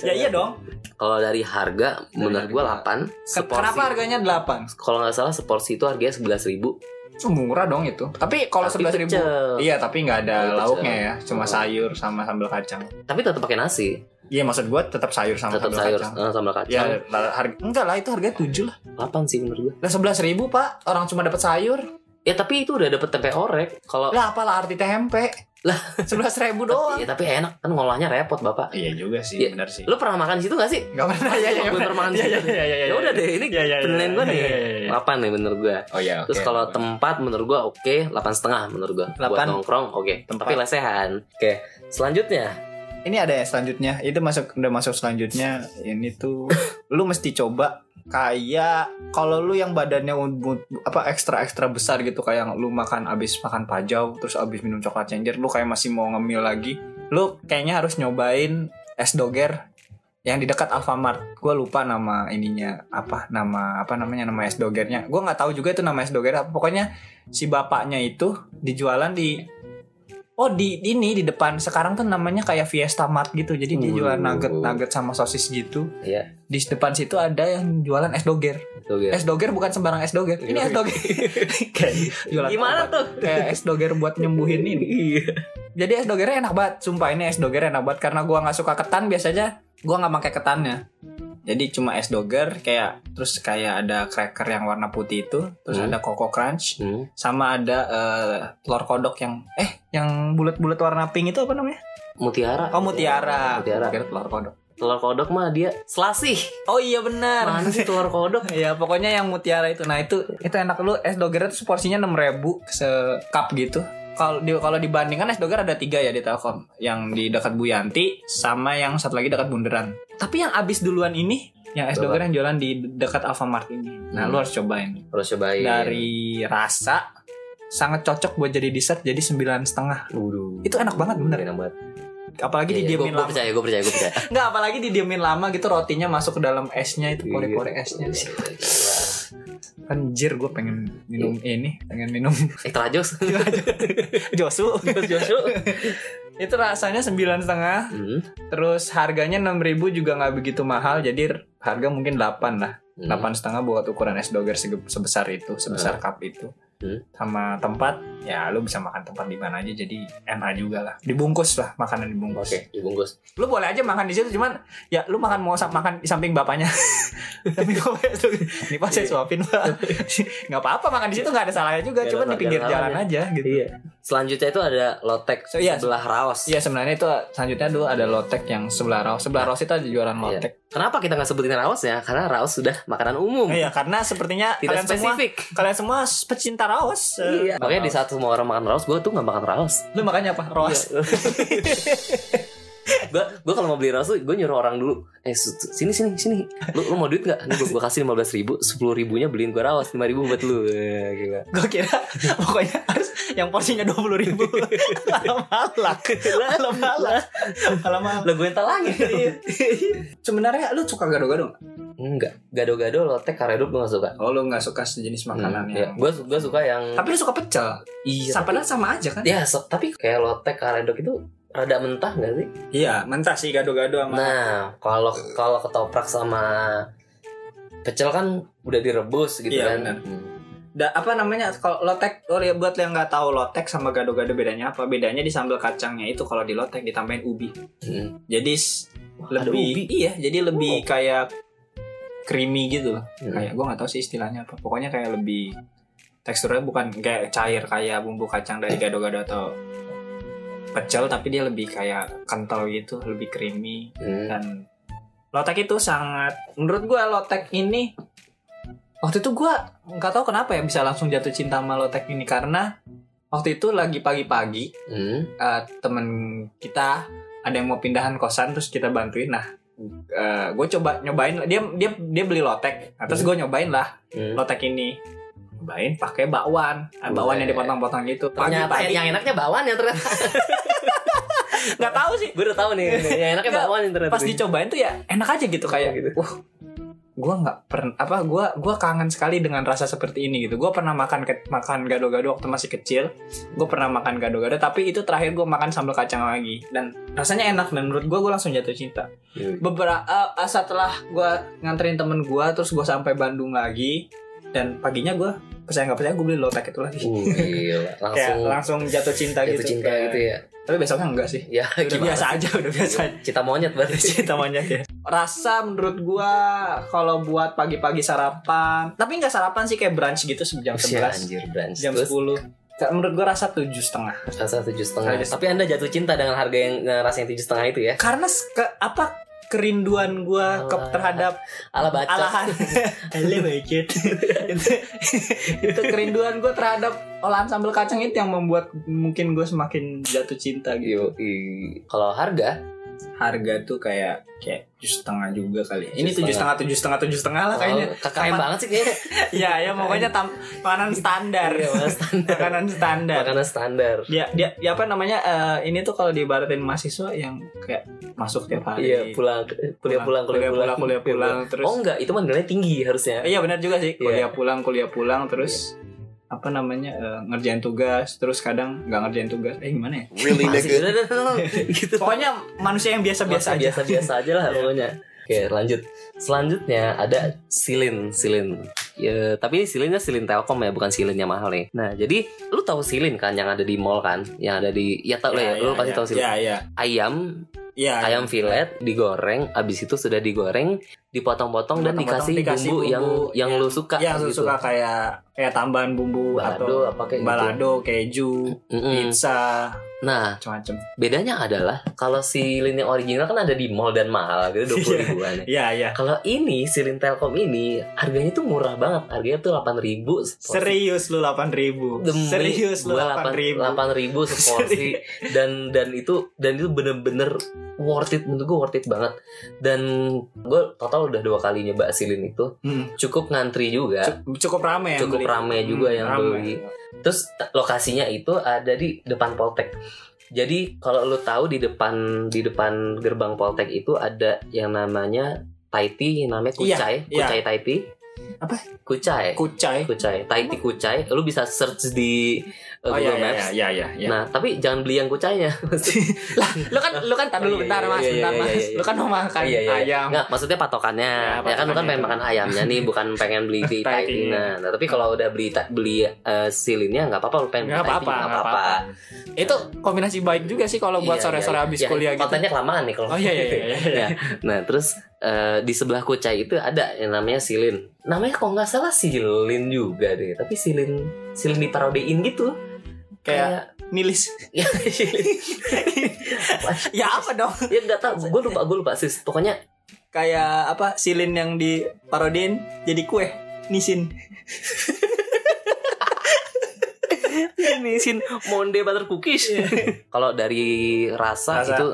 Speaker 4: Ya iya dong.
Speaker 1: Kalau dari harga menurut gua 8
Speaker 4: Ken- Kenapa harganya 8?
Speaker 1: Kalau nggak salah seporsi itu harganya 11.000.
Speaker 3: murah dong itu tapi kalau
Speaker 1: Tapi
Speaker 3: sebelas ribu
Speaker 1: pecel.
Speaker 3: iya tapi nggak
Speaker 1: Tapi
Speaker 3: ada
Speaker 1: pecel.
Speaker 3: lauknya ya
Speaker 1: Oh.
Speaker 3: cuma sayur sama sambal kacang
Speaker 1: Tapi tetap pakai nasi,
Speaker 3: iya maksud gua tetap sayur sama
Speaker 1: tetap
Speaker 3: sambal
Speaker 1: sayur
Speaker 3: kacang
Speaker 1: eh, sambal kacang.
Speaker 3: Ya, la- harga enggak lah itu harganya tujuh lah.
Speaker 1: 8 sih menurut gua.
Speaker 3: Lah sebelas ribu pak, orang cuma dapat sayur.
Speaker 1: Ya tapi itu udah dapet tempe orek. Kalau
Speaker 3: Lah apalah arti tempe? Oh. Lah sebelas ribu doang.
Speaker 1: ya tapi enak kan ngolahnya repot, Bapak.
Speaker 3: Iya juga sih,
Speaker 1: Iya.
Speaker 3: benar sih.
Speaker 1: Lu pernah makan di situ gak sih?
Speaker 3: Enggak pernah ya ya.
Speaker 1: Gua pernah makan di situ.
Speaker 3: iya.
Speaker 1: Ya udah deh, ini penilaian gua nih. 8 nih menurut gua.
Speaker 3: Oh ya.
Speaker 1: Terus kalau tempat menurut gua oke, 8,5 menurut gua. Buat
Speaker 4: 8.
Speaker 1: nongkrong oke,
Speaker 3: Tempat.
Speaker 1: tapi lesehan. Oke. Selanjutnya
Speaker 3: ini ada ya selanjutnya. Itu masuk udah masuk selanjutnya. Ini tuh lu mesti coba kayak kalau lu yang badannya ud- apa ekstra ekstra besar gitu kayak lu makan abis makan pajau terus abis minum coklat changer lu kayak masih mau ngemil lagi lu kayaknya harus nyobain es doger yang di dekat Alfamart gue lupa nama ininya apa nama apa namanya nama es dogernya gue nggak tahu juga itu nama es doger apa pokoknya si bapaknya itu dijualan di oh di di ini di depan sekarang tuh namanya kayak Fiesta Mart gitu jadi dia jualan
Speaker 1: Uh.
Speaker 3: nugget nugget sama sosis gitu
Speaker 1: Iya.
Speaker 3: di depan situ ada yang jualan es doger
Speaker 1: tuh ya.
Speaker 3: es doger bukan sembarang es doger ini es doger Kayak jualan
Speaker 1: Gimana
Speaker 3: obat.
Speaker 1: tuh?
Speaker 3: kayak es doger buat nyembuhin ini
Speaker 1: Iya.
Speaker 3: jadi es dogernya enak banget sumpah ini es doger enak banget karena gua nggak suka ketan biasanya gua nggak pakai ketannya jadi cuma es doger kayak terus kayak ada cracker yang warna putih itu terus
Speaker 1: Hmm.
Speaker 3: ada coco crunch
Speaker 1: Hmm.
Speaker 3: sama ada eh, telur kodok yang eh yang bulat-bulat warna pink itu apa namanya
Speaker 1: Mutiara.
Speaker 3: oh mutiara
Speaker 1: Mutiara.
Speaker 3: Gua kira telur kodok
Speaker 1: Telur kodok mah dia selasih.
Speaker 4: Oh iya benar.
Speaker 1: Mana sih telur kodok?
Speaker 3: ya pokoknya yang mutiara itu nah itu itu enak lu es doger itu porsinya 6000 ribu se cup gitu kalau di kalau dibandingkan es doger ada tiga ya di Telkom yang di dekat Bu Yanti sama yang satu lagi dekat Bundaran tapi yang abis duluan ini yang es
Speaker 1: Coba.
Speaker 3: doger yang jualan di dekat Alfamart ini nah
Speaker 1: Hmm.
Speaker 3: lu harus cobain
Speaker 1: Harus
Speaker 3: Iya.
Speaker 1: cobain.
Speaker 3: dari rasa sangat cocok buat jadi dessert jadi sembilan setengah
Speaker 1: Waduh.
Speaker 3: Itu enak banget, bener.
Speaker 1: Enak banget.
Speaker 3: apalagi
Speaker 1: Iya, iya.
Speaker 3: didiemin
Speaker 1: Gua- gua
Speaker 3: lama
Speaker 1: percaya, gue percaya, gue percaya.
Speaker 3: nggak apalagi didiemin lama gitu rotinya masuk ke dalam esnya
Speaker 1: Iya.
Speaker 3: itu kore-kore esnya anjir gue pengen minum
Speaker 1: Iya.
Speaker 3: ini pengen minum
Speaker 1: Eh, telajos.
Speaker 3: Iya. Josu
Speaker 1: Josu.
Speaker 3: itu rasanya sembilan setengah
Speaker 1: Hmm.
Speaker 3: terus harganya 6000 juga nggak begitu mahal jadi harga mungkin 8 lah
Speaker 1: Hmm.
Speaker 2: delapan setengah buat ukuran es doger sege- sebesar itu sebesar cup itu
Speaker 1: Hmm.
Speaker 2: sama tempat ya lu bisa makan tempat di mana aja jadi enak juga lah dibungkus lah makanan
Speaker 1: Oke,
Speaker 2: dibungkus
Speaker 1: dibungkus.
Speaker 2: lu boleh aja makan di situ cuman ya lu makan mau sa- makan di samping bapaknya tapi gue kayak tuh, ini pas
Speaker 1: Iya.
Speaker 2: saya suapin pak nggak apa-apa makan di situ nggak ada salahnya juga
Speaker 1: Nggak ada
Speaker 2: cuman di
Speaker 1: salah-
Speaker 2: pinggir
Speaker 1: nggak ada Iya,
Speaker 2: jalan aja gitu
Speaker 1: Selanjutnya itu ada lotek
Speaker 2: So, iya.
Speaker 1: sebelah raos.
Speaker 2: Iya sebenarnya itu selanjutnya dulu ada lotek yang sebelah raos sebelah raos itu ada jualan
Speaker 1: Iya.
Speaker 2: lotek
Speaker 1: Kenapa kita nggak sebutin raos ya? Karena raos sudah makanan umum.
Speaker 2: iya karena sepertinya
Speaker 1: Tidak
Speaker 2: kalian semua
Speaker 1: spesifik.
Speaker 2: kalian semua pecinta raos eh.
Speaker 1: Iya. Makanya di saat semua orang makan raos, gue tuh nggak makan raos.
Speaker 2: lu makanya apa
Speaker 3: Iya.
Speaker 2: Iya. raos
Speaker 1: gue gue kalau mau beli raus gue nyuruh orang dulu eh su- su- sini sini sini lu, lu mau duit nggak nih gue kasih lima belas ribu sepuluh ribunya beliin gue raus lima ribu buat lu Eh, gila
Speaker 2: gue kira pokoknya harus yang porsinya dua puluh ribu malah malah malah malah malah malah
Speaker 1: lo gue lagi
Speaker 3: Sebenarnya lu suka gado-gado nggak?
Speaker 1: enggak gado-gado lotek karedok gue gak suka
Speaker 3: Oh lu nggak suka sejenis makanan
Speaker 1: Hmm,
Speaker 3: ya?
Speaker 2: iya.
Speaker 1: gue gue suka yang
Speaker 3: Tapi lu suka pecel.
Speaker 1: iya tapi,
Speaker 3: Padahal sama aja kan?
Speaker 1: ya so- tapi kayak lotek karedok itu rada mentah gak sih
Speaker 3: Iya, mentah sih gado-gado sama.
Speaker 1: nah kalau kalau ketoprak sama pecel kan udah direbus gitu
Speaker 3: Iya,
Speaker 1: kan
Speaker 3: benar.
Speaker 1: Hmm.
Speaker 3: Da- apa namanya kalau lotek oh ya buat yang nggak tahu lotek sama gado-gado bedanya apa bedanya di sambal kacangnya itu kalau di lotek ditambahin ubi
Speaker 1: Hmm.
Speaker 3: jadi s-
Speaker 1: Wah, ada ubi.
Speaker 3: lebih iya jadi lebih
Speaker 1: Oh.
Speaker 3: kayak creamy gitu loh
Speaker 1: Hmm.
Speaker 3: kayak gue nggak tahu sih istilahnya apa pokoknya kayak lebih teksturnya bukan kayak cair kayak bumbu kacang dari gado-gado atau pecel tapi dia lebih kayak kental gitu lebih creamy
Speaker 1: Hmm.
Speaker 3: dan lotek itu sangat menurut gua lotek ini waktu itu gua nggak tahu kenapa ya bisa langsung jatuh cinta sama lotek ini karena waktu itu lagi pagi-pagi
Speaker 1: Hmm.
Speaker 3: eh, temen kita ada yang mau pindahan kosan terus kita bantuin nah gue coba nyobain dia dia dia beli lotek nah, terus gue nyobain lah
Speaker 1: Hmm.
Speaker 3: lotek ini nyobain pakai bakwan Ah, bakwan yang dipotong-potong gitu
Speaker 1: ternyata
Speaker 3: pagi-pagi
Speaker 1: yang enaknya bawaan ya ternyata
Speaker 3: nggak tahu sih
Speaker 1: gue udah tahu nih yang enaknya
Speaker 3: Nggak,
Speaker 1: bakwan internet
Speaker 3: pas dicobain tuh ya enak aja gitu kayak
Speaker 1: Gitu.
Speaker 3: wah gue nggak pernah apa gue gua kangen sekali dengan rasa seperti ini gitu gue pernah makan ke- makan gado-gado waktu masih kecil gue pernah makan gado-gado tapi itu terakhir gue makan sambal kacang lagi dan rasanya enak dan menurut gue gue langsung jatuh cinta
Speaker 1: Iya.
Speaker 3: beberapa eh, setelah gue nganterin temen gue terus gue sampai Bandung lagi dan paginya gue percaya nggak percaya gue beli lotek itu lagi
Speaker 1: Uh, gila.
Speaker 3: kayak
Speaker 1: langsung
Speaker 3: langsung jatuh cinta
Speaker 1: jatuh
Speaker 3: gitu
Speaker 1: cinta
Speaker 3: Kayak-
Speaker 1: gitu ya
Speaker 3: tapi besoknya enggak sih
Speaker 1: ya
Speaker 3: udah
Speaker 1: gimana
Speaker 3: biasa aja udah biasa aja
Speaker 1: cita monyet berarti
Speaker 3: Cinta monyet ya. Rasa menurut gua kalau buat pagi-pagi sarapan, tapi nggak sarapan sih kayak brunch gitu jam
Speaker 1: Usia
Speaker 3: 11,
Speaker 1: Iya, anjir brunch
Speaker 3: jam
Speaker 1: Terus
Speaker 3: 10. Kayak Menurut gua rasa tujuh setengah.
Speaker 1: rasa tujuh setengah
Speaker 3: Rasa-
Speaker 1: tapi anda jatuh cinta dengan harga yang eh, rasanya tujuh setengah itu ya
Speaker 3: Karena s- ke- apa kerinduan gua ke,
Speaker 1: Alah.
Speaker 3: terhadap
Speaker 1: ala baca
Speaker 3: alahan itu, itu kerinduan gua terhadap olahan sambal kacang itu yang membuat mungkin gua semakin jatuh cinta gitu.
Speaker 1: Yo, i- kalau harga
Speaker 3: Harga tuh kayak kayak tujuh setengah juga kali. ya. Ini
Speaker 1: Tujuh
Speaker 3: tujuh setengah tujuh setengah tujuh setengah lah kayaknya.
Speaker 1: oh, KKM banget sih kayaknya
Speaker 3: Iya, ya pokoknya tam- makanan standar.
Speaker 1: Iya, makanan standar.
Speaker 3: makanan standar.
Speaker 1: makanan standar
Speaker 3: Dia, dia, dia apa namanya? eh, ini tuh kalau diibaratin mahasiswa yang kayak masuk tiap hari.
Speaker 1: iya pulang kuliah pulang kuliah pulang
Speaker 3: kuliah pulang, terus.
Speaker 1: oh enggak itu manggilnya tinggi harusnya
Speaker 3: iya benar juga
Speaker 1: Iya.
Speaker 3: sih. Kuliah pulang, kuliah pulang, terus apa namanya eh, ngerjain tugas, terus kadang nggak ngerjain tugas. Eh gimana ya?
Speaker 5: Really
Speaker 1: Masih,
Speaker 5: nigga.
Speaker 1: udah, udah, udah, udah. gitu
Speaker 3: Pokoknya manusia yang biasa-biasa aja. Iya.
Speaker 1: biasa biasa aja lah pokoknya oke lanjut selanjutnya ada silin silin ya tapi ini silinnya silin telkom ya bukan silin yang mahal nih nah jadi lu tahu silin kan yang ada di mall kan yang ada di ya tau lah ya, lu pasti tahu silin
Speaker 3: Iya, iya.
Speaker 1: ayam
Speaker 3: Iya.
Speaker 1: ayam filet digoreng abis itu sudah digoreng dipotong-potong dan
Speaker 3: Dipotong-potong,
Speaker 1: dikasih,
Speaker 3: dikasih
Speaker 1: bumbu, yang
Speaker 3: bumbu ya,
Speaker 1: yang lu suka
Speaker 3: Yang lu
Speaker 1: gitu.
Speaker 3: suka kayak kayak tambahan bumbu atau Iya.
Speaker 1: balado apa kayak gitu.
Speaker 3: balado, keju,
Speaker 1: Mm-mm.
Speaker 3: pizza,
Speaker 1: Nah,
Speaker 3: macam-macam.
Speaker 1: bedanya adalah kalau silin yang original kan ada di mall dan mahal gitu 20 ribuan. ya.
Speaker 3: Iya, iya.
Speaker 1: Kalau ini silin Telkom ini harganya tuh murah banget. Harganya tuh 8000 seporsi.
Speaker 3: Serius lu 8000 ribu
Speaker 1: Demi
Speaker 3: Serius lu
Speaker 1: gua
Speaker 3: 8000 ribu
Speaker 1: 8.000 seporsi dan dan itu dan itu bener-bener worth it menurut gue worth it banget dan gue total udah dua kali nyoba silin itu cukup ngantri juga
Speaker 3: Hmm, Cukup rame yang
Speaker 1: Ya. Cukup
Speaker 3: beli. Hmm,
Speaker 1: rame juga yang
Speaker 3: rame.
Speaker 1: beli. terus t- lokasinya itu ada di depan Poltek jadi kalau lu tahu di depan di depan gerbang Poltek itu ada yang namanya Taiti namanya
Speaker 3: Iya,
Speaker 1: Kucai
Speaker 3: iya.
Speaker 1: Kucai Taiti
Speaker 3: Apa?
Speaker 1: Kucai
Speaker 3: Kucai
Speaker 1: Kucai, Taiti Kucai. Lu bisa search di eh,
Speaker 3: Oh iya
Speaker 1: Google
Speaker 3: iya
Speaker 1: Maps.
Speaker 3: iya iya. iya.
Speaker 1: Nah, tapi jangan beli yang kucanya.
Speaker 3: lah, lu kan lu kan tak
Speaker 1: Oh,
Speaker 3: dulu
Speaker 1: iya,
Speaker 3: bentar
Speaker 1: iya,
Speaker 3: Mas,
Speaker 1: iya,
Speaker 3: bentar
Speaker 1: iya,
Speaker 3: Mas.
Speaker 1: iya, iya.
Speaker 3: Lu kan mau makan
Speaker 1: Iya, iya, iya.
Speaker 3: ayam.
Speaker 1: Enggak, maksudnya patokannya. Ya, kan
Speaker 3: Ya,
Speaker 1: lu kan
Speaker 3: patokannya
Speaker 1: pengen
Speaker 3: itu.
Speaker 1: makan ayamnya nih, bukan pengen beli di
Speaker 3: Thai
Speaker 1: Thai
Speaker 3: tea-nya.
Speaker 1: Tea. Nah, tapi kalau udah beli ta- beli eh, silinnya nggak apa-apa lu pengen beli
Speaker 3: Ah. Nggak
Speaker 1: Thai Tea,
Speaker 3: apa-apa,
Speaker 1: nggak
Speaker 3: nggak apa-apa. Itu kombinasi baik juga sih kalau buat
Speaker 1: Iya,
Speaker 3: sore-sore
Speaker 1: iya,
Speaker 3: habis
Speaker 1: iya.
Speaker 3: kuliah gitu.
Speaker 1: Kontennya kelamaan nih kalau.
Speaker 3: Oh iya iya iya. iya.
Speaker 1: Nah, nah, terus eh, di sebelah kucai itu ada yang namanya silin. Namanya kalau nggak salah silin juga deh, tapi silin silin diparodiin gitu.
Speaker 3: Kayak- Nilis.
Speaker 1: ya silin.
Speaker 3: Ya apa dong?
Speaker 1: ya nggak tahu, gue lupa gue lupa sis. Pokoknya
Speaker 3: Kayak apa silin yang diparodin jadi kue. Nisin.
Speaker 1: nisin monde butter cookies. Iya. Kalau dari rasa,
Speaker 2: Rasa.
Speaker 1: itu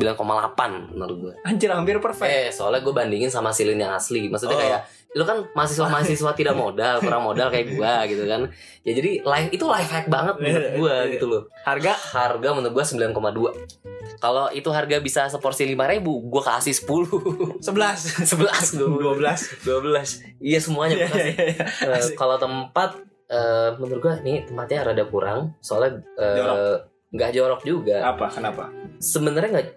Speaker 1: 9,8 menurut gue.
Speaker 3: Anjir hampir perfect.
Speaker 1: Eh, soalnya gue bandingin sama silin yang asli. Maksudnya
Speaker 2: Oh.
Speaker 1: kayak lu kan mahasiswa-mahasiswa tidak modal, kurang modal kayak gua gitu kan. Ya jadi life itu life hack banget menurut gua gitu loh.
Speaker 3: Harga
Speaker 1: Harga menurut gua 9,2. Kalau itu harga bisa seporsi 5000, gua kasih 10.
Speaker 3: 11.
Speaker 1: 11 gua. 12.
Speaker 3: 12.
Speaker 1: Iya semuanya
Speaker 3: Iya
Speaker 1: gua
Speaker 3: iya
Speaker 1: kasih.
Speaker 3: iya.
Speaker 1: Eh, kalau tempat eh, menurut gua nih tempatnya rada kurang soalnya eh,
Speaker 2: Jorok.
Speaker 1: nggak jorok juga
Speaker 2: Apa? Kenapa?
Speaker 1: sebenarnya nggak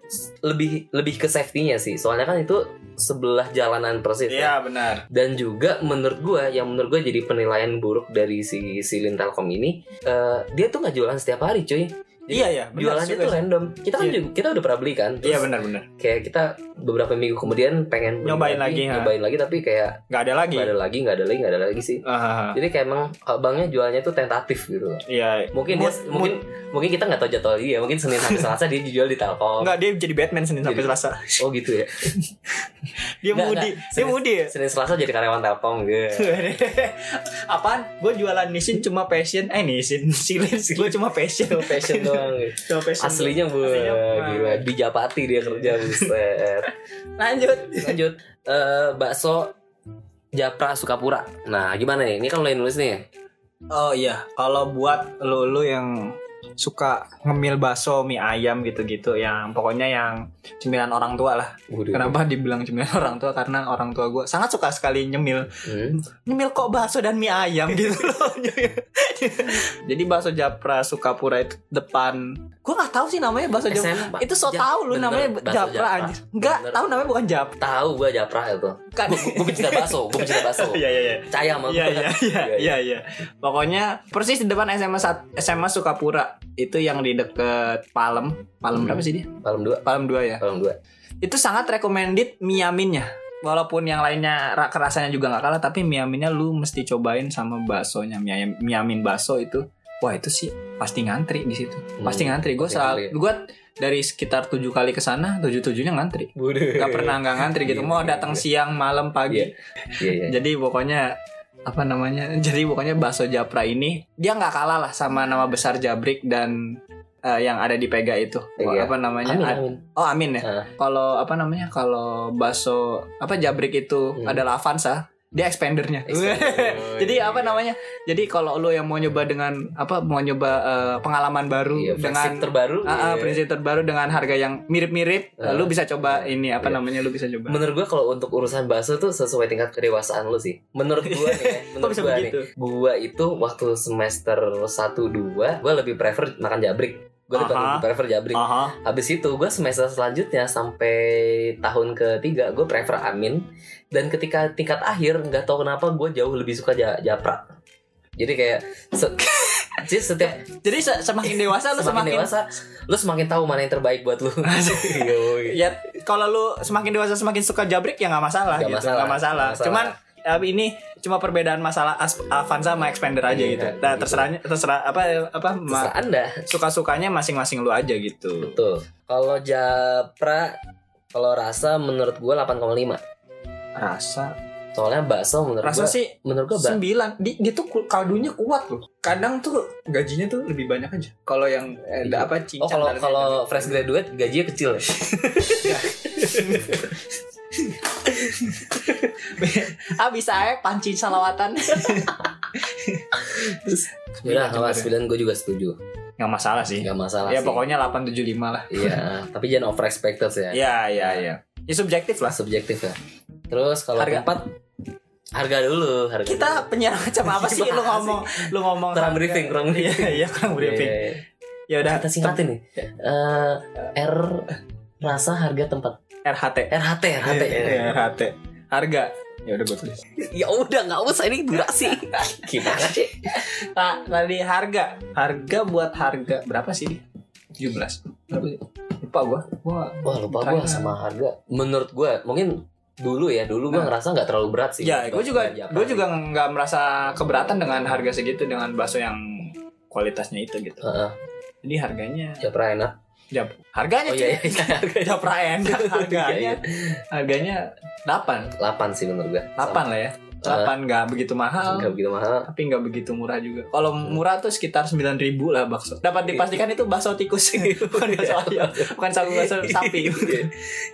Speaker 1: lebih lebih ke safety-nya sih soalnya kan itu sebelah jalanan persis ya.
Speaker 2: Iya benar.
Speaker 1: dan juga menurut gua yang menurut gua jadi penilaian buruk dari si silin telkom ini eh, dia tuh nggak jualan setiap hari cuy
Speaker 3: Iya iya. benar
Speaker 1: jualannya
Speaker 3: juga
Speaker 1: tuh
Speaker 3: sih.
Speaker 1: random kita kan
Speaker 3: Iya.
Speaker 1: juga, kita udah pernah beli kan Terus
Speaker 2: Iya benar benar.
Speaker 1: kayak kita beberapa minggu kemudian pengen beli
Speaker 2: Nyobain lagi, ha. Iya.
Speaker 1: nyobain lagi tapi kayak
Speaker 2: Gak ada lagi.
Speaker 1: nggak ada lagi nggak ada lagi nggak ada lagi sih
Speaker 2: Ah,
Speaker 1: jadi kayak emang abangnya jualnya tuh tentatif gitu loh
Speaker 2: Iya.
Speaker 1: mungkin dia-
Speaker 3: Mood-
Speaker 1: mungkin mungkin kita nggak tahu jadwal dia mungkin senin sampai selasa dia jual di telkom
Speaker 3: Enggak dia jadi Batman Senin
Speaker 1: Jadi-
Speaker 3: sampai Selasa.
Speaker 1: oh gitu ya
Speaker 3: Dia
Speaker 1: Nggak,
Speaker 3: mudi,
Speaker 1: nggak.
Speaker 3: dia
Speaker 1: Senin-
Speaker 3: mudi ya.
Speaker 1: Senin Selasa jadi karyawan Telkom gitu.
Speaker 3: Apaan? Gue jualan nisin cuma passion Eh nisin Silin Gue cuma passion
Speaker 1: Passion doang. gitu.
Speaker 3: Cuma passion
Speaker 1: Aslinya bu,
Speaker 3: Aslinya, Bu.
Speaker 1: gila di Japati dia kerja buset.
Speaker 3: Lanjut
Speaker 1: Lanjut Eh, bakso Japra Sukapura. Nah gimana nih? Ini kan mulai nulis nih.
Speaker 2: Oh iya.
Speaker 3: Kalau buat
Speaker 2: Lu lu yang suka ngemil bakso mie ayam gitu-gitu yang pokoknya yang cemilan orang tua lah.
Speaker 1: Waduh.
Speaker 2: Kenapa dibilang cemilan orang tua? Karena orang tua gue sangat suka sekali nyemil
Speaker 1: Hmm.
Speaker 2: nyemil kok bakso dan mie ayam gitu loh. Jadi bakso Japra Sukapura itu depan
Speaker 3: Gue gak tahu sih namanya bakso Japra
Speaker 1: SM, Pak.
Speaker 3: Itu so
Speaker 1: Ja-
Speaker 3: tau lu
Speaker 1: bener,
Speaker 3: namanya
Speaker 1: bakso
Speaker 3: Japra, anjir Enggak
Speaker 1: Bener.
Speaker 3: tahu namanya bukan Japra
Speaker 1: Tahu gua Japra itu.
Speaker 3: kan
Speaker 1: Gua pecinta bakso, gua pecinta bakso.
Speaker 2: Iya iya iya.
Speaker 1: Caya sama
Speaker 2: Iya iya
Speaker 1: gua.
Speaker 2: iya
Speaker 1: Iya,
Speaker 2: iya iya. Pokoknya persis di depan SMA sat- SMA Sukapura itu yang di deket Palem. Palem
Speaker 1: Hmm.
Speaker 2: berapa sih dia?
Speaker 1: Palem dua,
Speaker 2: Palem 2 ya.
Speaker 1: palem dua.
Speaker 2: Itu sangat recommended miaminnya. Walaupun yang lainnya ra- rasanya juga nggak kalah tapi miaminnya lu mesti cobain sama baksonya miamin miamin bakso itu. Wah, itu sih pasti ngantri di situ. Pasti
Speaker 1: Hmm,
Speaker 2: ngantri. Gue
Speaker 1: pasti
Speaker 2: selalu
Speaker 1: ngantri.
Speaker 2: gue dari sekitar tujuh kali ke sana, tujuh-tujuhnya ngantri.
Speaker 1: Waduh.
Speaker 2: Gak pernah nggak ngantri gitu. Mau datang siang, malam, pagi.
Speaker 1: Iya. Iya iya.
Speaker 2: Jadi pokoknya apa namanya? Jadi pokoknya bakso Japra ini dia nggak kalah lah sama nama besar Jabrik dan eh, yang ada di Pega itu.
Speaker 1: Iya.
Speaker 2: Apa namanya?
Speaker 1: Amin,
Speaker 2: Ad-
Speaker 1: amin.
Speaker 2: Oh Amin ya.
Speaker 1: Ah.
Speaker 2: Kalau apa namanya? Kalau bakso apa Jabrik itu
Speaker 1: Hmm.
Speaker 2: adalah Avanza, dia expandernya.
Speaker 1: Expander. Oh, iya,
Speaker 2: Jadi apa namanya? Jadi kalau lo yang mau nyoba dengan apa mau nyoba eh, pengalaman baru
Speaker 1: Iya,
Speaker 2: dengan
Speaker 1: prinsip terbaru.
Speaker 2: Ah, ah,
Speaker 1: iya.
Speaker 2: prinsip terbaru dengan harga yang mirip-mirip,
Speaker 1: Ah.
Speaker 2: lo bisa coba ini apa
Speaker 1: Iya.
Speaker 2: namanya? Lo bisa coba.
Speaker 1: Menurut gua kalau untuk urusan bakso tuh sesuai tingkat kedewasaan lu sih. Menurut gua nih, ya,
Speaker 3: Kok
Speaker 1: menurut
Speaker 3: bisa
Speaker 1: gua nih.
Speaker 3: begitu
Speaker 1: Gua itu waktu semester 1 2 gua lebih prefer makan jabrik. Gua lebih
Speaker 3: Aha.
Speaker 1: prefer
Speaker 2: Ah.
Speaker 1: jabrik.
Speaker 3: Aha
Speaker 1: Habis itu gua semester selanjutnya sampai tahun ketiga gua prefer amin dan ketika tingkat akhir nggak tahu kenapa gua jauh lebih suka ja- japra. Jadi kayak se- Jadi setiap
Speaker 3: Jadi se- semakin dewasa lu
Speaker 1: semakin,
Speaker 3: semakin,
Speaker 1: dewasa lu semakin tahu mana yang terbaik buat lu. Yoi.
Speaker 3: Ya kalau lu semakin dewasa semakin suka jabrik ya nggak masalah
Speaker 1: Nggak
Speaker 3: gitu
Speaker 1: masalah.
Speaker 3: Nggak masalah.
Speaker 1: Nggak masalah.
Speaker 3: Cuman eh, ini cuma perbedaan masalah as- Avanza sama Expander aja
Speaker 1: Iya,
Speaker 3: gitu.
Speaker 1: gitu.
Speaker 3: Nah, terserahnya terserah apa apa ma-
Speaker 1: Terserah Anda.
Speaker 3: suka-sukanya masing-masing lu aja gitu.
Speaker 1: Betul. Kalau Japra kalau rasa menurut gua 8,5.
Speaker 2: Rasa
Speaker 1: Soalnya bakso menurut gua
Speaker 3: Rasa sih
Speaker 1: menurut gua ba-
Speaker 3: sembilan di, dia tuh ku- kaldunya kuat loh. Kadang tuh gajinya tuh lebih banyak aja. Kalau yang eh,
Speaker 1: Iya.
Speaker 3: apa cincang
Speaker 1: Oh kalau
Speaker 3: dan-
Speaker 1: kalau fresh graduate gajinya kecil.
Speaker 3: Iya,
Speaker 1: ya?
Speaker 3: ah bisa ya pancing salawatan.
Speaker 1: Udah,
Speaker 2: Sembilan,
Speaker 1: kalau 9 gua juga setuju.
Speaker 2: nggak masalah sih.
Speaker 1: Enggak masalah
Speaker 2: Ya
Speaker 1: sih.
Speaker 2: pokoknya 875 lah.
Speaker 1: Iya, tapi jangan over
Speaker 3: Iya.
Speaker 1: expected ya.
Speaker 2: Ya ya ya. Ya subjektif lah.
Speaker 1: Subjektif ya. Terus kalau
Speaker 2: Harga.
Speaker 1: keempat Harga dulu, harga dulu.
Speaker 3: Kita penyiar macam apa sih lu
Speaker 1: Gimana
Speaker 3: ngomong lu ngomong
Speaker 1: kurang briefing, kurang
Speaker 3: Iya,
Speaker 1: briefing.
Speaker 3: iya kurang briefing.
Speaker 1: Iya, iya.
Speaker 3: Ya udah
Speaker 1: Kita singkatin nih. Eh, R rasa harga tempat
Speaker 3: RHT.
Speaker 1: RHT RHT
Speaker 2: Iya, HT.
Speaker 3: Harga.
Speaker 2: Ya udah gue tulis.
Speaker 1: ya udah nggak usah ini durasi gimana sih
Speaker 3: Pak, tadi harga. Harga buat harga berapa sih dia?
Speaker 2: 17.
Speaker 3: Berapa sih? Lupa gua. Gua
Speaker 1: wah lupa gue sama harga menurut gue mungkin dulu ya dulu gue ngerasa nggak terlalu berat sih
Speaker 3: Nah.
Speaker 1: Buat
Speaker 3: Ya, gua juga
Speaker 1: belanja
Speaker 3: gua
Speaker 1: apa.
Speaker 3: juga nggak merasa keberatan dengan harga segitu dengan bakso yang kualitasnya itu gitu.
Speaker 1: Heeh,
Speaker 3: Jadi harganya
Speaker 1: ya pernah enak
Speaker 3: Jap.
Speaker 1: oh
Speaker 3: Harganya cuy.
Speaker 1: iya iya, iya
Speaker 3: Jap Ryan.
Speaker 1: Iya,
Speaker 3: Harganya
Speaker 1: iya.
Speaker 3: harganya 8.
Speaker 1: 8 sih menurut gue
Speaker 3: 8 lah ya. 8 nggak begitu mahal.
Speaker 1: Gak begitu mahal
Speaker 3: tapi nggak begitu murah juga. Kalau murah tuh sekitar 9.000 lah bakso. Dapat dipastikan itu bakso tikus bukan bakso ayam, bukan sagu bakso sapi.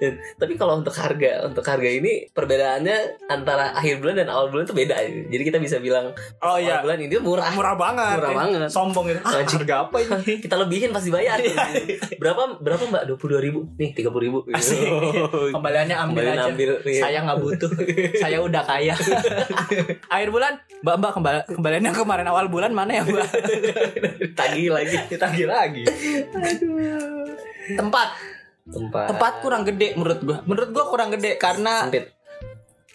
Speaker 1: Ya, Tapi kalau untuk harga Untuk harga ini Perbedaannya Antara akhir bulan dan awal bulan itu beda Jadi kita bisa bilang
Speaker 3: Oh
Speaker 1: Awal
Speaker 3: iya,
Speaker 1: bulan ini murah
Speaker 3: murah banget.
Speaker 1: Murah
Speaker 3: Eh,
Speaker 1: banget.
Speaker 3: Sombong itu. Ah,
Speaker 1: Anjing.
Speaker 3: harga apa ini?
Speaker 1: Kita lebihin pasti bayar
Speaker 3: Iya,
Speaker 1: Berapa berapa mbak? 22 ribu Nih 30 ribu
Speaker 3: Asik. Oh, iya. Kembaliannya ambil
Speaker 1: Kembali
Speaker 3: aja.
Speaker 1: ambil iya.
Speaker 3: Saya nggak butuh. Saya udah kaya. akhir bulan, Mbak Mbak kembali kembaliannya kemarin awal bulan mana ya, Mbak?
Speaker 1: Tagih lagi
Speaker 3: Ditagih lagi. Tempat,
Speaker 1: Tempat
Speaker 3: tempat kurang gede menurut gua. Menurut gua kurang gede karena
Speaker 1: Sempit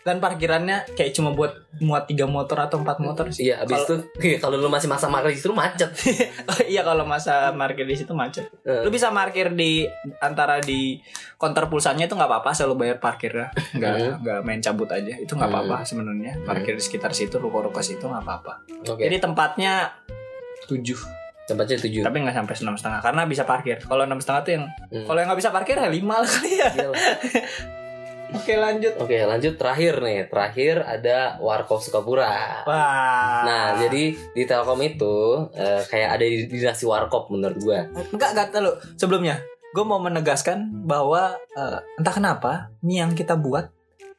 Speaker 3: dan parkirannya kayak cuma buat muat tiga motor atau empat motor sih.
Speaker 1: Iya abis itu Kalau lu masih masa makan justru macet
Speaker 3: iya kalau masa parkir di situ macet.
Speaker 1: Eh.
Speaker 3: Lu bisa parkir di antara di konter pulsanya itu nggak apa-apa, selalu bayar parkirnya. Nggak
Speaker 1: Hmm.
Speaker 3: nggak main cabut aja, itu nggak
Speaker 1: Hmm.
Speaker 3: apa-apa sebenarnya. Parkir di sekitar situ, ruko-ruko situ nggak apa-apa.
Speaker 1: Oke
Speaker 3: Jadi tempatnya tujuh,
Speaker 1: Tempatnya 7
Speaker 3: tapi nggak sampai enam setengah karena bisa parkir. Kalau enam setengah tuh yang
Speaker 1: Hmm.
Speaker 3: kalau yang nggak bisa parkir ya lima lah kali ya. Oke lanjut.
Speaker 1: Iya. Oke lanjut terakhir nih Terakhir ada Warkop Sukapura
Speaker 3: Wah.
Speaker 1: Nah, jadi di Telkom itu eh, kayak ada di dinasti warkop menurut gua.
Speaker 3: Enggak, enggak lu. Sebelumnya, gue mau menegaskan bahwa eh, entah kenapa mie yang kita buat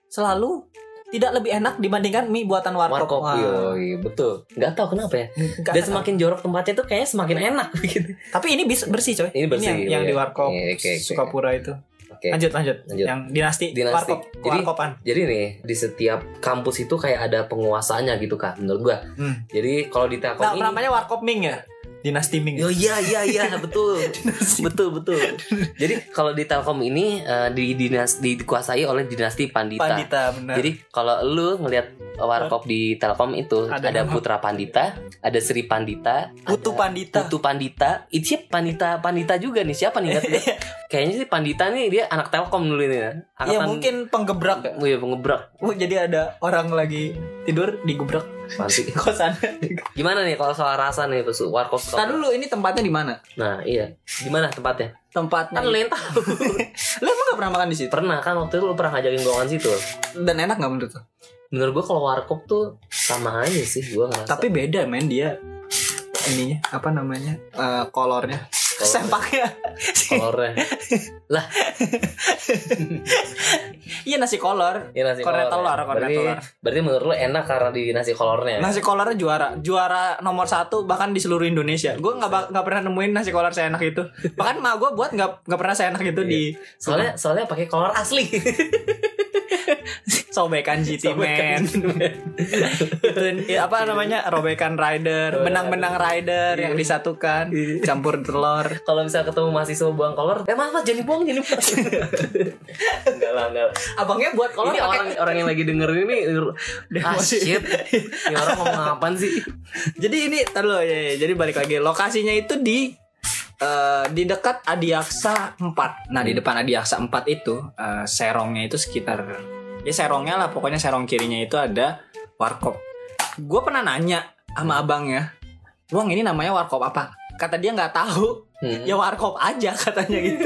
Speaker 3: selalu tidak lebih enak dibandingkan mie buatan warkop.
Speaker 1: Warkop,
Speaker 3: Wah,
Speaker 1: yoi, betul. Nggak tahu kenapa ya.
Speaker 3: enggak
Speaker 1: Dan
Speaker 3: kenapa.
Speaker 1: semakin jorok tempatnya tuh kayaknya semakin enak Gitu. begitu.
Speaker 3: Tapi ini bis- bersih coy.
Speaker 1: Ini bersih,
Speaker 3: yang, yang
Speaker 1: iya.
Speaker 3: di warkop
Speaker 1: Iya, oke, oke.
Speaker 3: Sukapura itu.
Speaker 1: Oke.
Speaker 3: Lanjut lanjut.
Speaker 1: Lanjut.
Speaker 3: Yang dinasti,
Speaker 1: Dinasti.
Speaker 3: warkop.
Speaker 1: Jadi-
Speaker 3: warkopan.
Speaker 1: Jadi nih di setiap kampus itu kayak ada penguasanya gitu kan menurut gua.
Speaker 3: Hmm.
Speaker 1: Jadi kalau di Telkom
Speaker 3: Nah,
Speaker 1: ini
Speaker 3: namanya warkop Ming ya. Dinasti Ming.
Speaker 1: Oh iya iya iya betul betul betul. Jadi kalau di Telkom ini eh, di dinas dikuasai oleh dinasti Pandita.
Speaker 3: Pandita benar.
Speaker 1: Jadi kalau lu ngelihat warkop di Telkom itu
Speaker 3: Ada
Speaker 1: ada,
Speaker 3: nama.
Speaker 1: Putra Pandita, ada Sri Pandita,
Speaker 3: Putu
Speaker 1: ada
Speaker 3: Pandita.
Speaker 1: Putu Pandita. Itu siapa Pandita Pandita juga nih siapa nih? Nggak tahu.
Speaker 3: Iya,
Speaker 1: Kayaknya sih Pandita nih dia anak Telkom dulu nih. ya.
Speaker 3: ya
Speaker 1: Angkatan-
Speaker 3: mungkin penggebrak ya.
Speaker 1: Oh iya pengebrak
Speaker 3: Oh, jadi ada orang lagi tidur digebrak
Speaker 1: Pasti.
Speaker 3: kosan.
Speaker 1: Gimana nih kalau soal rasa nih Pak Su? warkop?
Speaker 3: Tar dulu ini tempatnya di mana?
Speaker 1: Nah iya. Gimana tempatnya?
Speaker 3: Tempatnya.
Speaker 1: Kan lu yang tahu.
Speaker 3: Lu emang gak pernah makan di situ?
Speaker 1: Pernah kan waktu itu lu pernah ngajakin gue makan situ.
Speaker 3: Dan enak gak menurut lo?
Speaker 1: Menurut gue kalau warkop tuh sama aja sih gue ngerasa.
Speaker 3: Tapi beda men dia ininya apa namanya Eh, kolornya
Speaker 1: Kolor.
Speaker 3: sempaknya
Speaker 1: kolornya.
Speaker 3: iya nasi kolor
Speaker 1: Iya nasi
Speaker 3: Kornet
Speaker 1: kolor.
Speaker 3: telur,
Speaker 1: ya.
Speaker 3: kornet
Speaker 1: berarti,
Speaker 3: telur. Nah,
Speaker 1: berarti menurut lu enak karena di nasi kolornya. ya?
Speaker 3: nasi kolornya juara juara nomor satu bahkan di seluruh Indonesia gue nggak ba- nggak pernah nemuin nasi kolor seenak itu bahkan ma gue buat nggak nggak pernah seenak itu di
Speaker 1: Soalnya soalnya pakai kolor asli.
Speaker 3: Iya. sobekan GT man Itu- ya, apa namanya robekan rider benang-benang rider Iya. yang disatukan campur telur
Speaker 1: Kalau misalnya ketemu mahasiswa buang kolor, eh mas mas jadi buang jadi buang. enggak lah enggak. lah.
Speaker 3: abangnya buat kolor
Speaker 1: ini
Speaker 3: pakai-
Speaker 1: orang orang yang lagi dengerin ini ah
Speaker 3: masih-
Speaker 1: shit. Ini orang ngomong apaan sih?
Speaker 3: Jadi ini tar dulu, ya, ya. jadi balik lagi lokasinya itu di eh, di dekat Adiaksa 4. Nah, di depan Adiaksa 4 itu eh, serongnya itu sekitar ya serongnya lah pokoknya serong kirinya itu ada warkop. Gue pernah nanya sama abangnya, "Bang, ini namanya warkop apa?" Kata dia nggak tahu.
Speaker 1: Hmm.
Speaker 3: Ya warkop aja katanya gitu.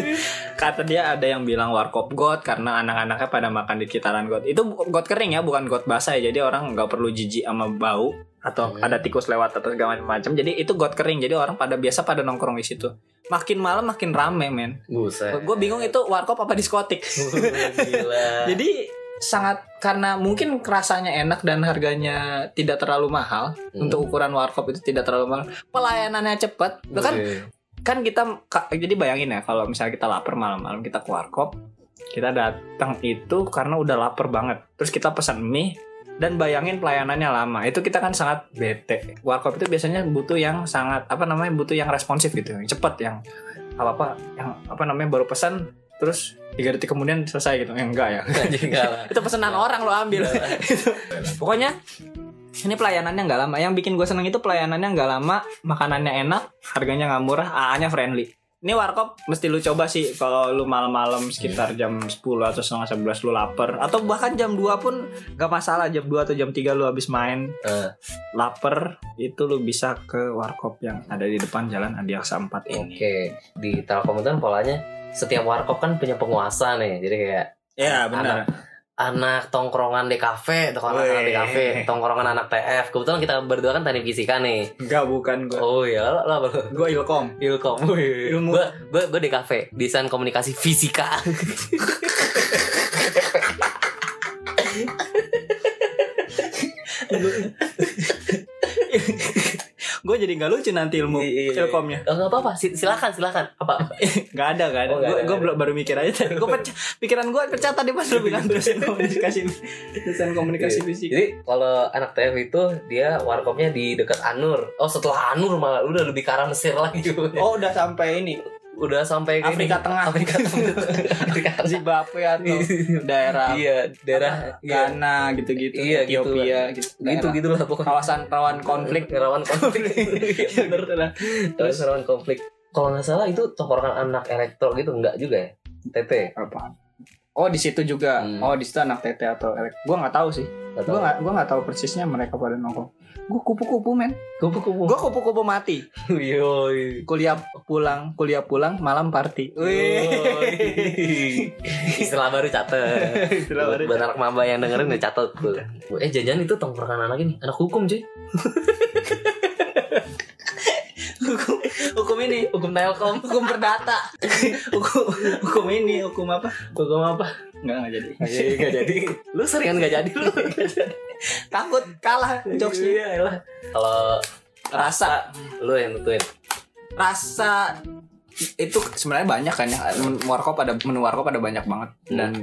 Speaker 3: Kata dia ada yang bilang warkop got karena anak-anaknya pada makan di kitaran got. Itu got kering ya, bukan got basah ya. Jadi orang nggak perlu jijik sama bau atau
Speaker 1: Hmm.
Speaker 3: ada tikus lewat atau segala macam. Jadi itu got kering. Jadi orang pada biasa pada nongkrong di situ. Makin malam makin rame, men.
Speaker 1: Hmm, Buset.
Speaker 3: Gue bingung itu warkop apa diskotik.
Speaker 1: Gila.
Speaker 3: Jadi sangat karena mungkin rasanya enak dan harganya tidak terlalu mahal
Speaker 1: Hmm.
Speaker 3: untuk ukuran warkop itu tidak terlalu mahal pelayanannya cepat bahkan
Speaker 1: Oke.
Speaker 3: kan kita ka- jadi bayangin ya kalau misalnya kita lapar malam-malam kita ke warkop kita datang itu karena udah lapar banget terus kita pesan mie dan bayangin pelayanannya lama itu kita kan sangat bete warkop itu biasanya butuh yang sangat apa namanya butuh yang responsif gitu yang cepet yang apa apa yang apa namanya baru pesan terus tiga detik kemudian selesai gitu Eh, enggak ya Iya.
Speaker 1: Enggak lah.
Speaker 3: itu pesanan orang lo ambil pokoknya ini pelayanannya nggak lama yang bikin gue seneng itu pelayanannya nggak lama makanannya enak harganya nggak murah AA-nya friendly ini warkop mesti lu coba sih kalau lu malam-malam sekitar
Speaker 1: Iya.
Speaker 3: jam 10 atau setengah 11 lu lapar atau bahkan jam 2 pun gak masalah jam 2 atau jam 3 lu habis main
Speaker 1: Eh.
Speaker 3: lapar itu lu bisa ke warkop yang ada di depan jalan Adiaksa 4 ini
Speaker 1: Oke, di Telkom itu kan polanya setiap warkop kan punya penguasa nih. Jadi kayak
Speaker 3: ya
Speaker 1: benar. anak tongkrongan di kafe, tongkrongan anak di kafe, tongkrongan anak TF. Kebetulan kita berdua kan teknik fisika nih.
Speaker 3: enggak bukan gue
Speaker 1: Oh iya, lo, lo apa lo?
Speaker 3: gue ilkom
Speaker 1: Ilkom.
Speaker 3: Ilmu.
Speaker 1: Gue gue gue di kafe, desain komunikasi fisika.
Speaker 3: gue jadi nggak lucu nanti ilmu
Speaker 1: Iya, iya, iya.
Speaker 3: ilkomnya
Speaker 1: Oh, nggak apa-apa, si- silakan silakan. Apa?
Speaker 3: Gak ada, gak ada.
Speaker 1: Oh, nggak ada,
Speaker 3: gue
Speaker 1: nggak
Speaker 3: baru mikir aja tadi. Gue pecah, pikiran gue pecah tadi pas lu bilang dosen komunikasi, dosen komunikasi
Speaker 1: Iya.
Speaker 3: fisik.
Speaker 1: Jadi kalau anak TF itu dia warkopnya di dekat Anur. Oh setelah Anur malah udah lebih ke arah Mesir lagi.
Speaker 3: Oh udah sampai ini
Speaker 1: Udah sampai ke
Speaker 3: Afrika
Speaker 1: ini.
Speaker 3: Tengah, Iya,
Speaker 1: Afrika Tengah. Afrika Tengah.
Speaker 3: Zimbabwe atau daerah
Speaker 1: Iya, daerah iya,
Speaker 3: Ghana gitu-gitu,
Speaker 1: Iya, gitu
Speaker 3: Ethiopia gitu,
Speaker 1: gitu
Speaker 3: daerah.
Speaker 1: gitu lah pokoknya.
Speaker 3: kawasan rawan konflik.
Speaker 1: Rawan konflik.
Speaker 3: Iya,
Speaker 1: Bener.
Speaker 3: gitu lah.
Speaker 1: Terus rawan konflik. Kalau nggak salah itu tongkrongan anak elektro gitu enggak juga ya? TT.
Speaker 3: Apa? Oh di situ juga.
Speaker 1: Hmm.
Speaker 3: Oh di situ anak TT atau elek. Gue nggak tahu sih.
Speaker 1: Nggak
Speaker 3: Gue
Speaker 1: tahu.
Speaker 3: nggak gue nggak tahu persisnya mereka pada nongkrong. Gue kupu-kupu men.
Speaker 1: Kupu-kupu.
Speaker 3: Gue kupu-kupu mati.
Speaker 1: Yoi.
Speaker 3: Kuliah pulang, kuliah pulang, malam party.
Speaker 1: Yoi. Istilah baru catet.
Speaker 3: Istilah baru.
Speaker 1: Buat anak maba yang dengerin udah catat tuh. Eh jangan itu tongkrongan anak ini, anak hukum cuy.
Speaker 3: hukum hukum ini
Speaker 1: Hukum Telkom,
Speaker 3: hukum perdata hukum hukum ini hukum apa
Speaker 1: hukum apa?
Speaker 3: nggak nggak jadi
Speaker 1: Gak jadi. Lu seringan gak jadi lu.
Speaker 3: takut kalah jokesnya
Speaker 1: Iya lah. Kalau
Speaker 3: rasa
Speaker 1: lu yang nentuin.
Speaker 3: rasa itu sebenarnya banyak kan ya Men- warkop ada menu warkop ada banyak banget dan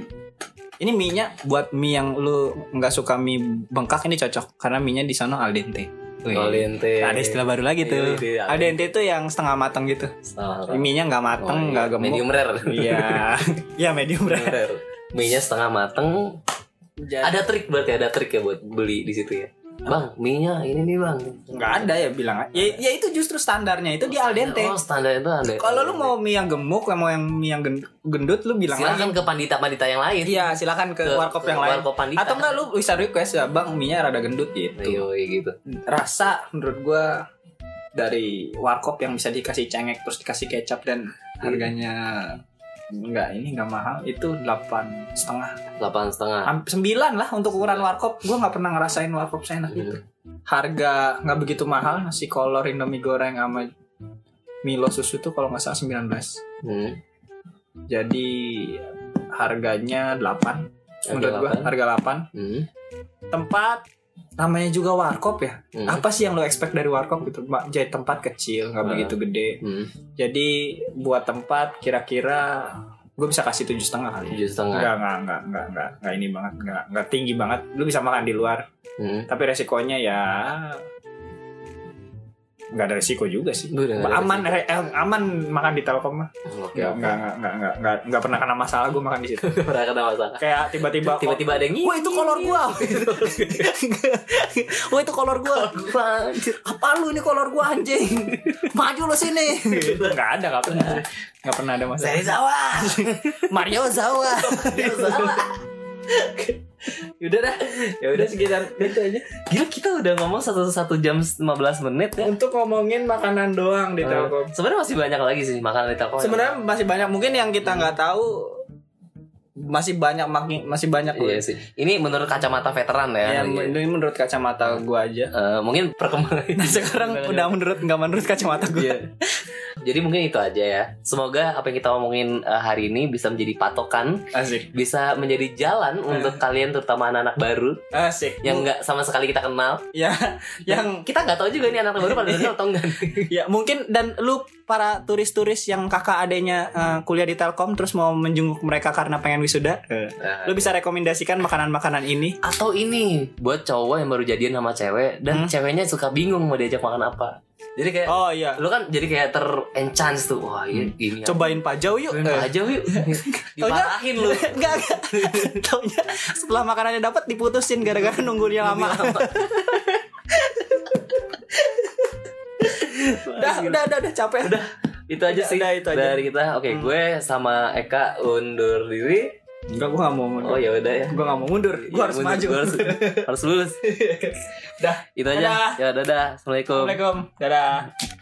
Speaker 3: ini mie nya buat mie yang lu nggak suka mie bengkak ini cocok karena mie nya di sana al dente Wih.
Speaker 1: Olinte.
Speaker 3: ada istilah baru lagi tuh
Speaker 1: Iya, iya,
Speaker 3: al dente itu yang setengah matang gitu
Speaker 1: Salah.
Speaker 3: mie nya nggak
Speaker 1: Oh,
Speaker 3: matang
Speaker 1: iya.
Speaker 3: nggak gemuk
Speaker 1: Medium rare.
Speaker 3: iya ya medium rare
Speaker 1: Medium rare. Eh. Mie-nya setengah mateng. Ada trik berarti ada trik ya buat beli di situ ya. Bang, mie-nya ini nih, Bang.
Speaker 3: Nggak ada ya bilang aja. ya, ya itu justru standarnya itu di al dente
Speaker 1: Oh, standar itu ada.
Speaker 3: kalau lu mau mie yang gemuk mau yang mie yang gen- gendut lu bilang aja
Speaker 1: silakan ke pandita-pandita yang lain.
Speaker 3: iya silakan ke,
Speaker 1: Ke-
Speaker 3: warkop
Speaker 1: ke
Speaker 3: yang lain
Speaker 1: warkop pandita.
Speaker 3: atau enggak lu bisa request ya bang mie nya rada gendut gitu
Speaker 1: Yoi, gitu.
Speaker 3: rasa menurut gua dari warkop yang bisa dikasih cengek terus dikasih kecap dan
Speaker 1: Iya.
Speaker 3: harganya enggak ini enggak mahal itu delapan setengah
Speaker 1: delapan setengah
Speaker 3: Am- sembilan lah untuk ukuran warkop gua nggak pernah ngerasain
Speaker 1: Iya.
Speaker 3: warkop seenak itu harga nggak begitu mahal nasi kolor indomie goreng sama Milo susu tuh kalau nggak salah 19
Speaker 1: Hmm.
Speaker 3: jadi harganya 8
Speaker 1: Harga
Speaker 3: menurut gua
Speaker 1: delapan.
Speaker 3: harga
Speaker 1: Hmm.
Speaker 3: 8 tempat namanya juga warkop ya
Speaker 1: Hmm.
Speaker 3: apa sih yang lo expect dari warkop gitu Ma- jadi tempat kecil nggak
Speaker 1: Hmm.
Speaker 3: begitu gede
Speaker 1: Hmm.
Speaker 3: jadi buat tempat kira-kira gue bisa kasih tujuh setengah kali
Speaker 1: Tujuh setengah.
Speaker 3: Enggak, enggak, enggak, enggak, enggak, enggak ini banget, enggak, enggak tinggi banget. Lu bisa makan di luar,
Speaker 1: Hmm.
Speaker 3: tapi resikonya ya nggak ada resiko juga sih
Speaker 1: Udah, nggak ada
Speaker 3: aman eh, aman makan di Telkom mah
Speaker 1: Oke,
Speaker 3: nggak
Speaker 1: oke.
Speaker 3: nggak nggak nggak nggak nggak pernah kena masalah gue makan di situ
Speaker 1: Pernah kena masalah.
Speaker 3: kayak tiba-tiba
Speaker 1: Tiba-tiba ada yang
Speaker 3: wah itu kolor gua wah itu kolor gua apa lu ini kolor gua anjing maju lu sini nggak ada nggak pernah nggak pernah ada masalah
Speaker 1: Seri sawah.
Speaker 3: Mario Zawa
Speaker 1: Udah dah. Ya udah sekitar itu aja. Gila kita udah ngomong satu satu jam 15 menit ya.
Speaker 3: untuk ngomongin makanan doang di Telkom
Speaker 1: Sebenarnya masih banyak lagi sih makanan di Telkom.
Speaker 3: sebenarnya masih banyak mungkin yang kita nggak tahu masih banyak maki- masih banyak
Speaker 1: Iya sih. Ini menurut kacamata veteran ya.
Speaker 3: ya,
Speaker 1: Iya.
Speaker 3: ini menurut kacamata gua aja
Speaker 1: Eh, mungkin perkembangan
Speaker 3: Iya. sekarang udah menurut nggak menurut kacamata gua
Speaker 1: Iya. jadi mungkin itu aja ya. Semoga apa yang kita omongin eh, hari ini bisa menjadi patokan,
Speaker 3: Asik.
Speaker 1: bisa menjadi jalan untuk kalian terutama anak-anak baru
Speaker 3: Asik.
Speaker 1: yang nggak sama sekali kita kenal.
Speaker 3: ya
Speaker 1: Dan
Speaker 3: yang
Speaker 1: kita nggak tahu juga nih anak-anak baru pada kenal atau enggak.
Speaker 3: Ya mungkin dan lu para turis-turis yang kakak adanya eh, kuliah di Telkom terus mau menjenguk mereka karena pengen wisuda, eh,
Speaker 1: Nah,
Speaker 3: lu bisa rekomendasikan makanan-makanan ini.
Speaker 1: atau ini buat cowok yang baru jadian sama cewek dan
Speaker 3: Hmm.
Speaker 1: ceweknya suka bingung mau diajak makan apa. Jadi kayak
Speaker 3: Oh iya,
Speaker 1: lu kan jadi kayak ter-enchance tuh. Wah, ini ini.
Speaker 3: cobain pajau yuk. eh.
Speaker 1: Coba aja yuk. Diparahin lu.
Speaker 3: Enggak, enggak. Taunya setelah makanannya dapat diputusin gara-gara nunggunya lama. udah, udah, udah, udah capek. Udah.
Speaker 1: itu aja sih
Speaker 3: Udah, itu aja. Hmm.
Speaker 1: dari kita. Oke, gue sama Eka undur diri.
Speaker 3: Enggak, gua gak mau mundur.
Speaker 1: Oh ya udah ya.
Speaker 3: Gua gak mau Iya, mundur. Gua harus
Speaker 1: Mundur,
Speaker 3: maju.
Speaker 1: gua harus, harus lulus.
Speaker 3: Dah.
Speaker 1: Itu aja.
Speaker 3: Dadah.
Speaker 1: Ya dadah. Assalamualaikum.
Speaker 3: Assalamualaikum. Dadah.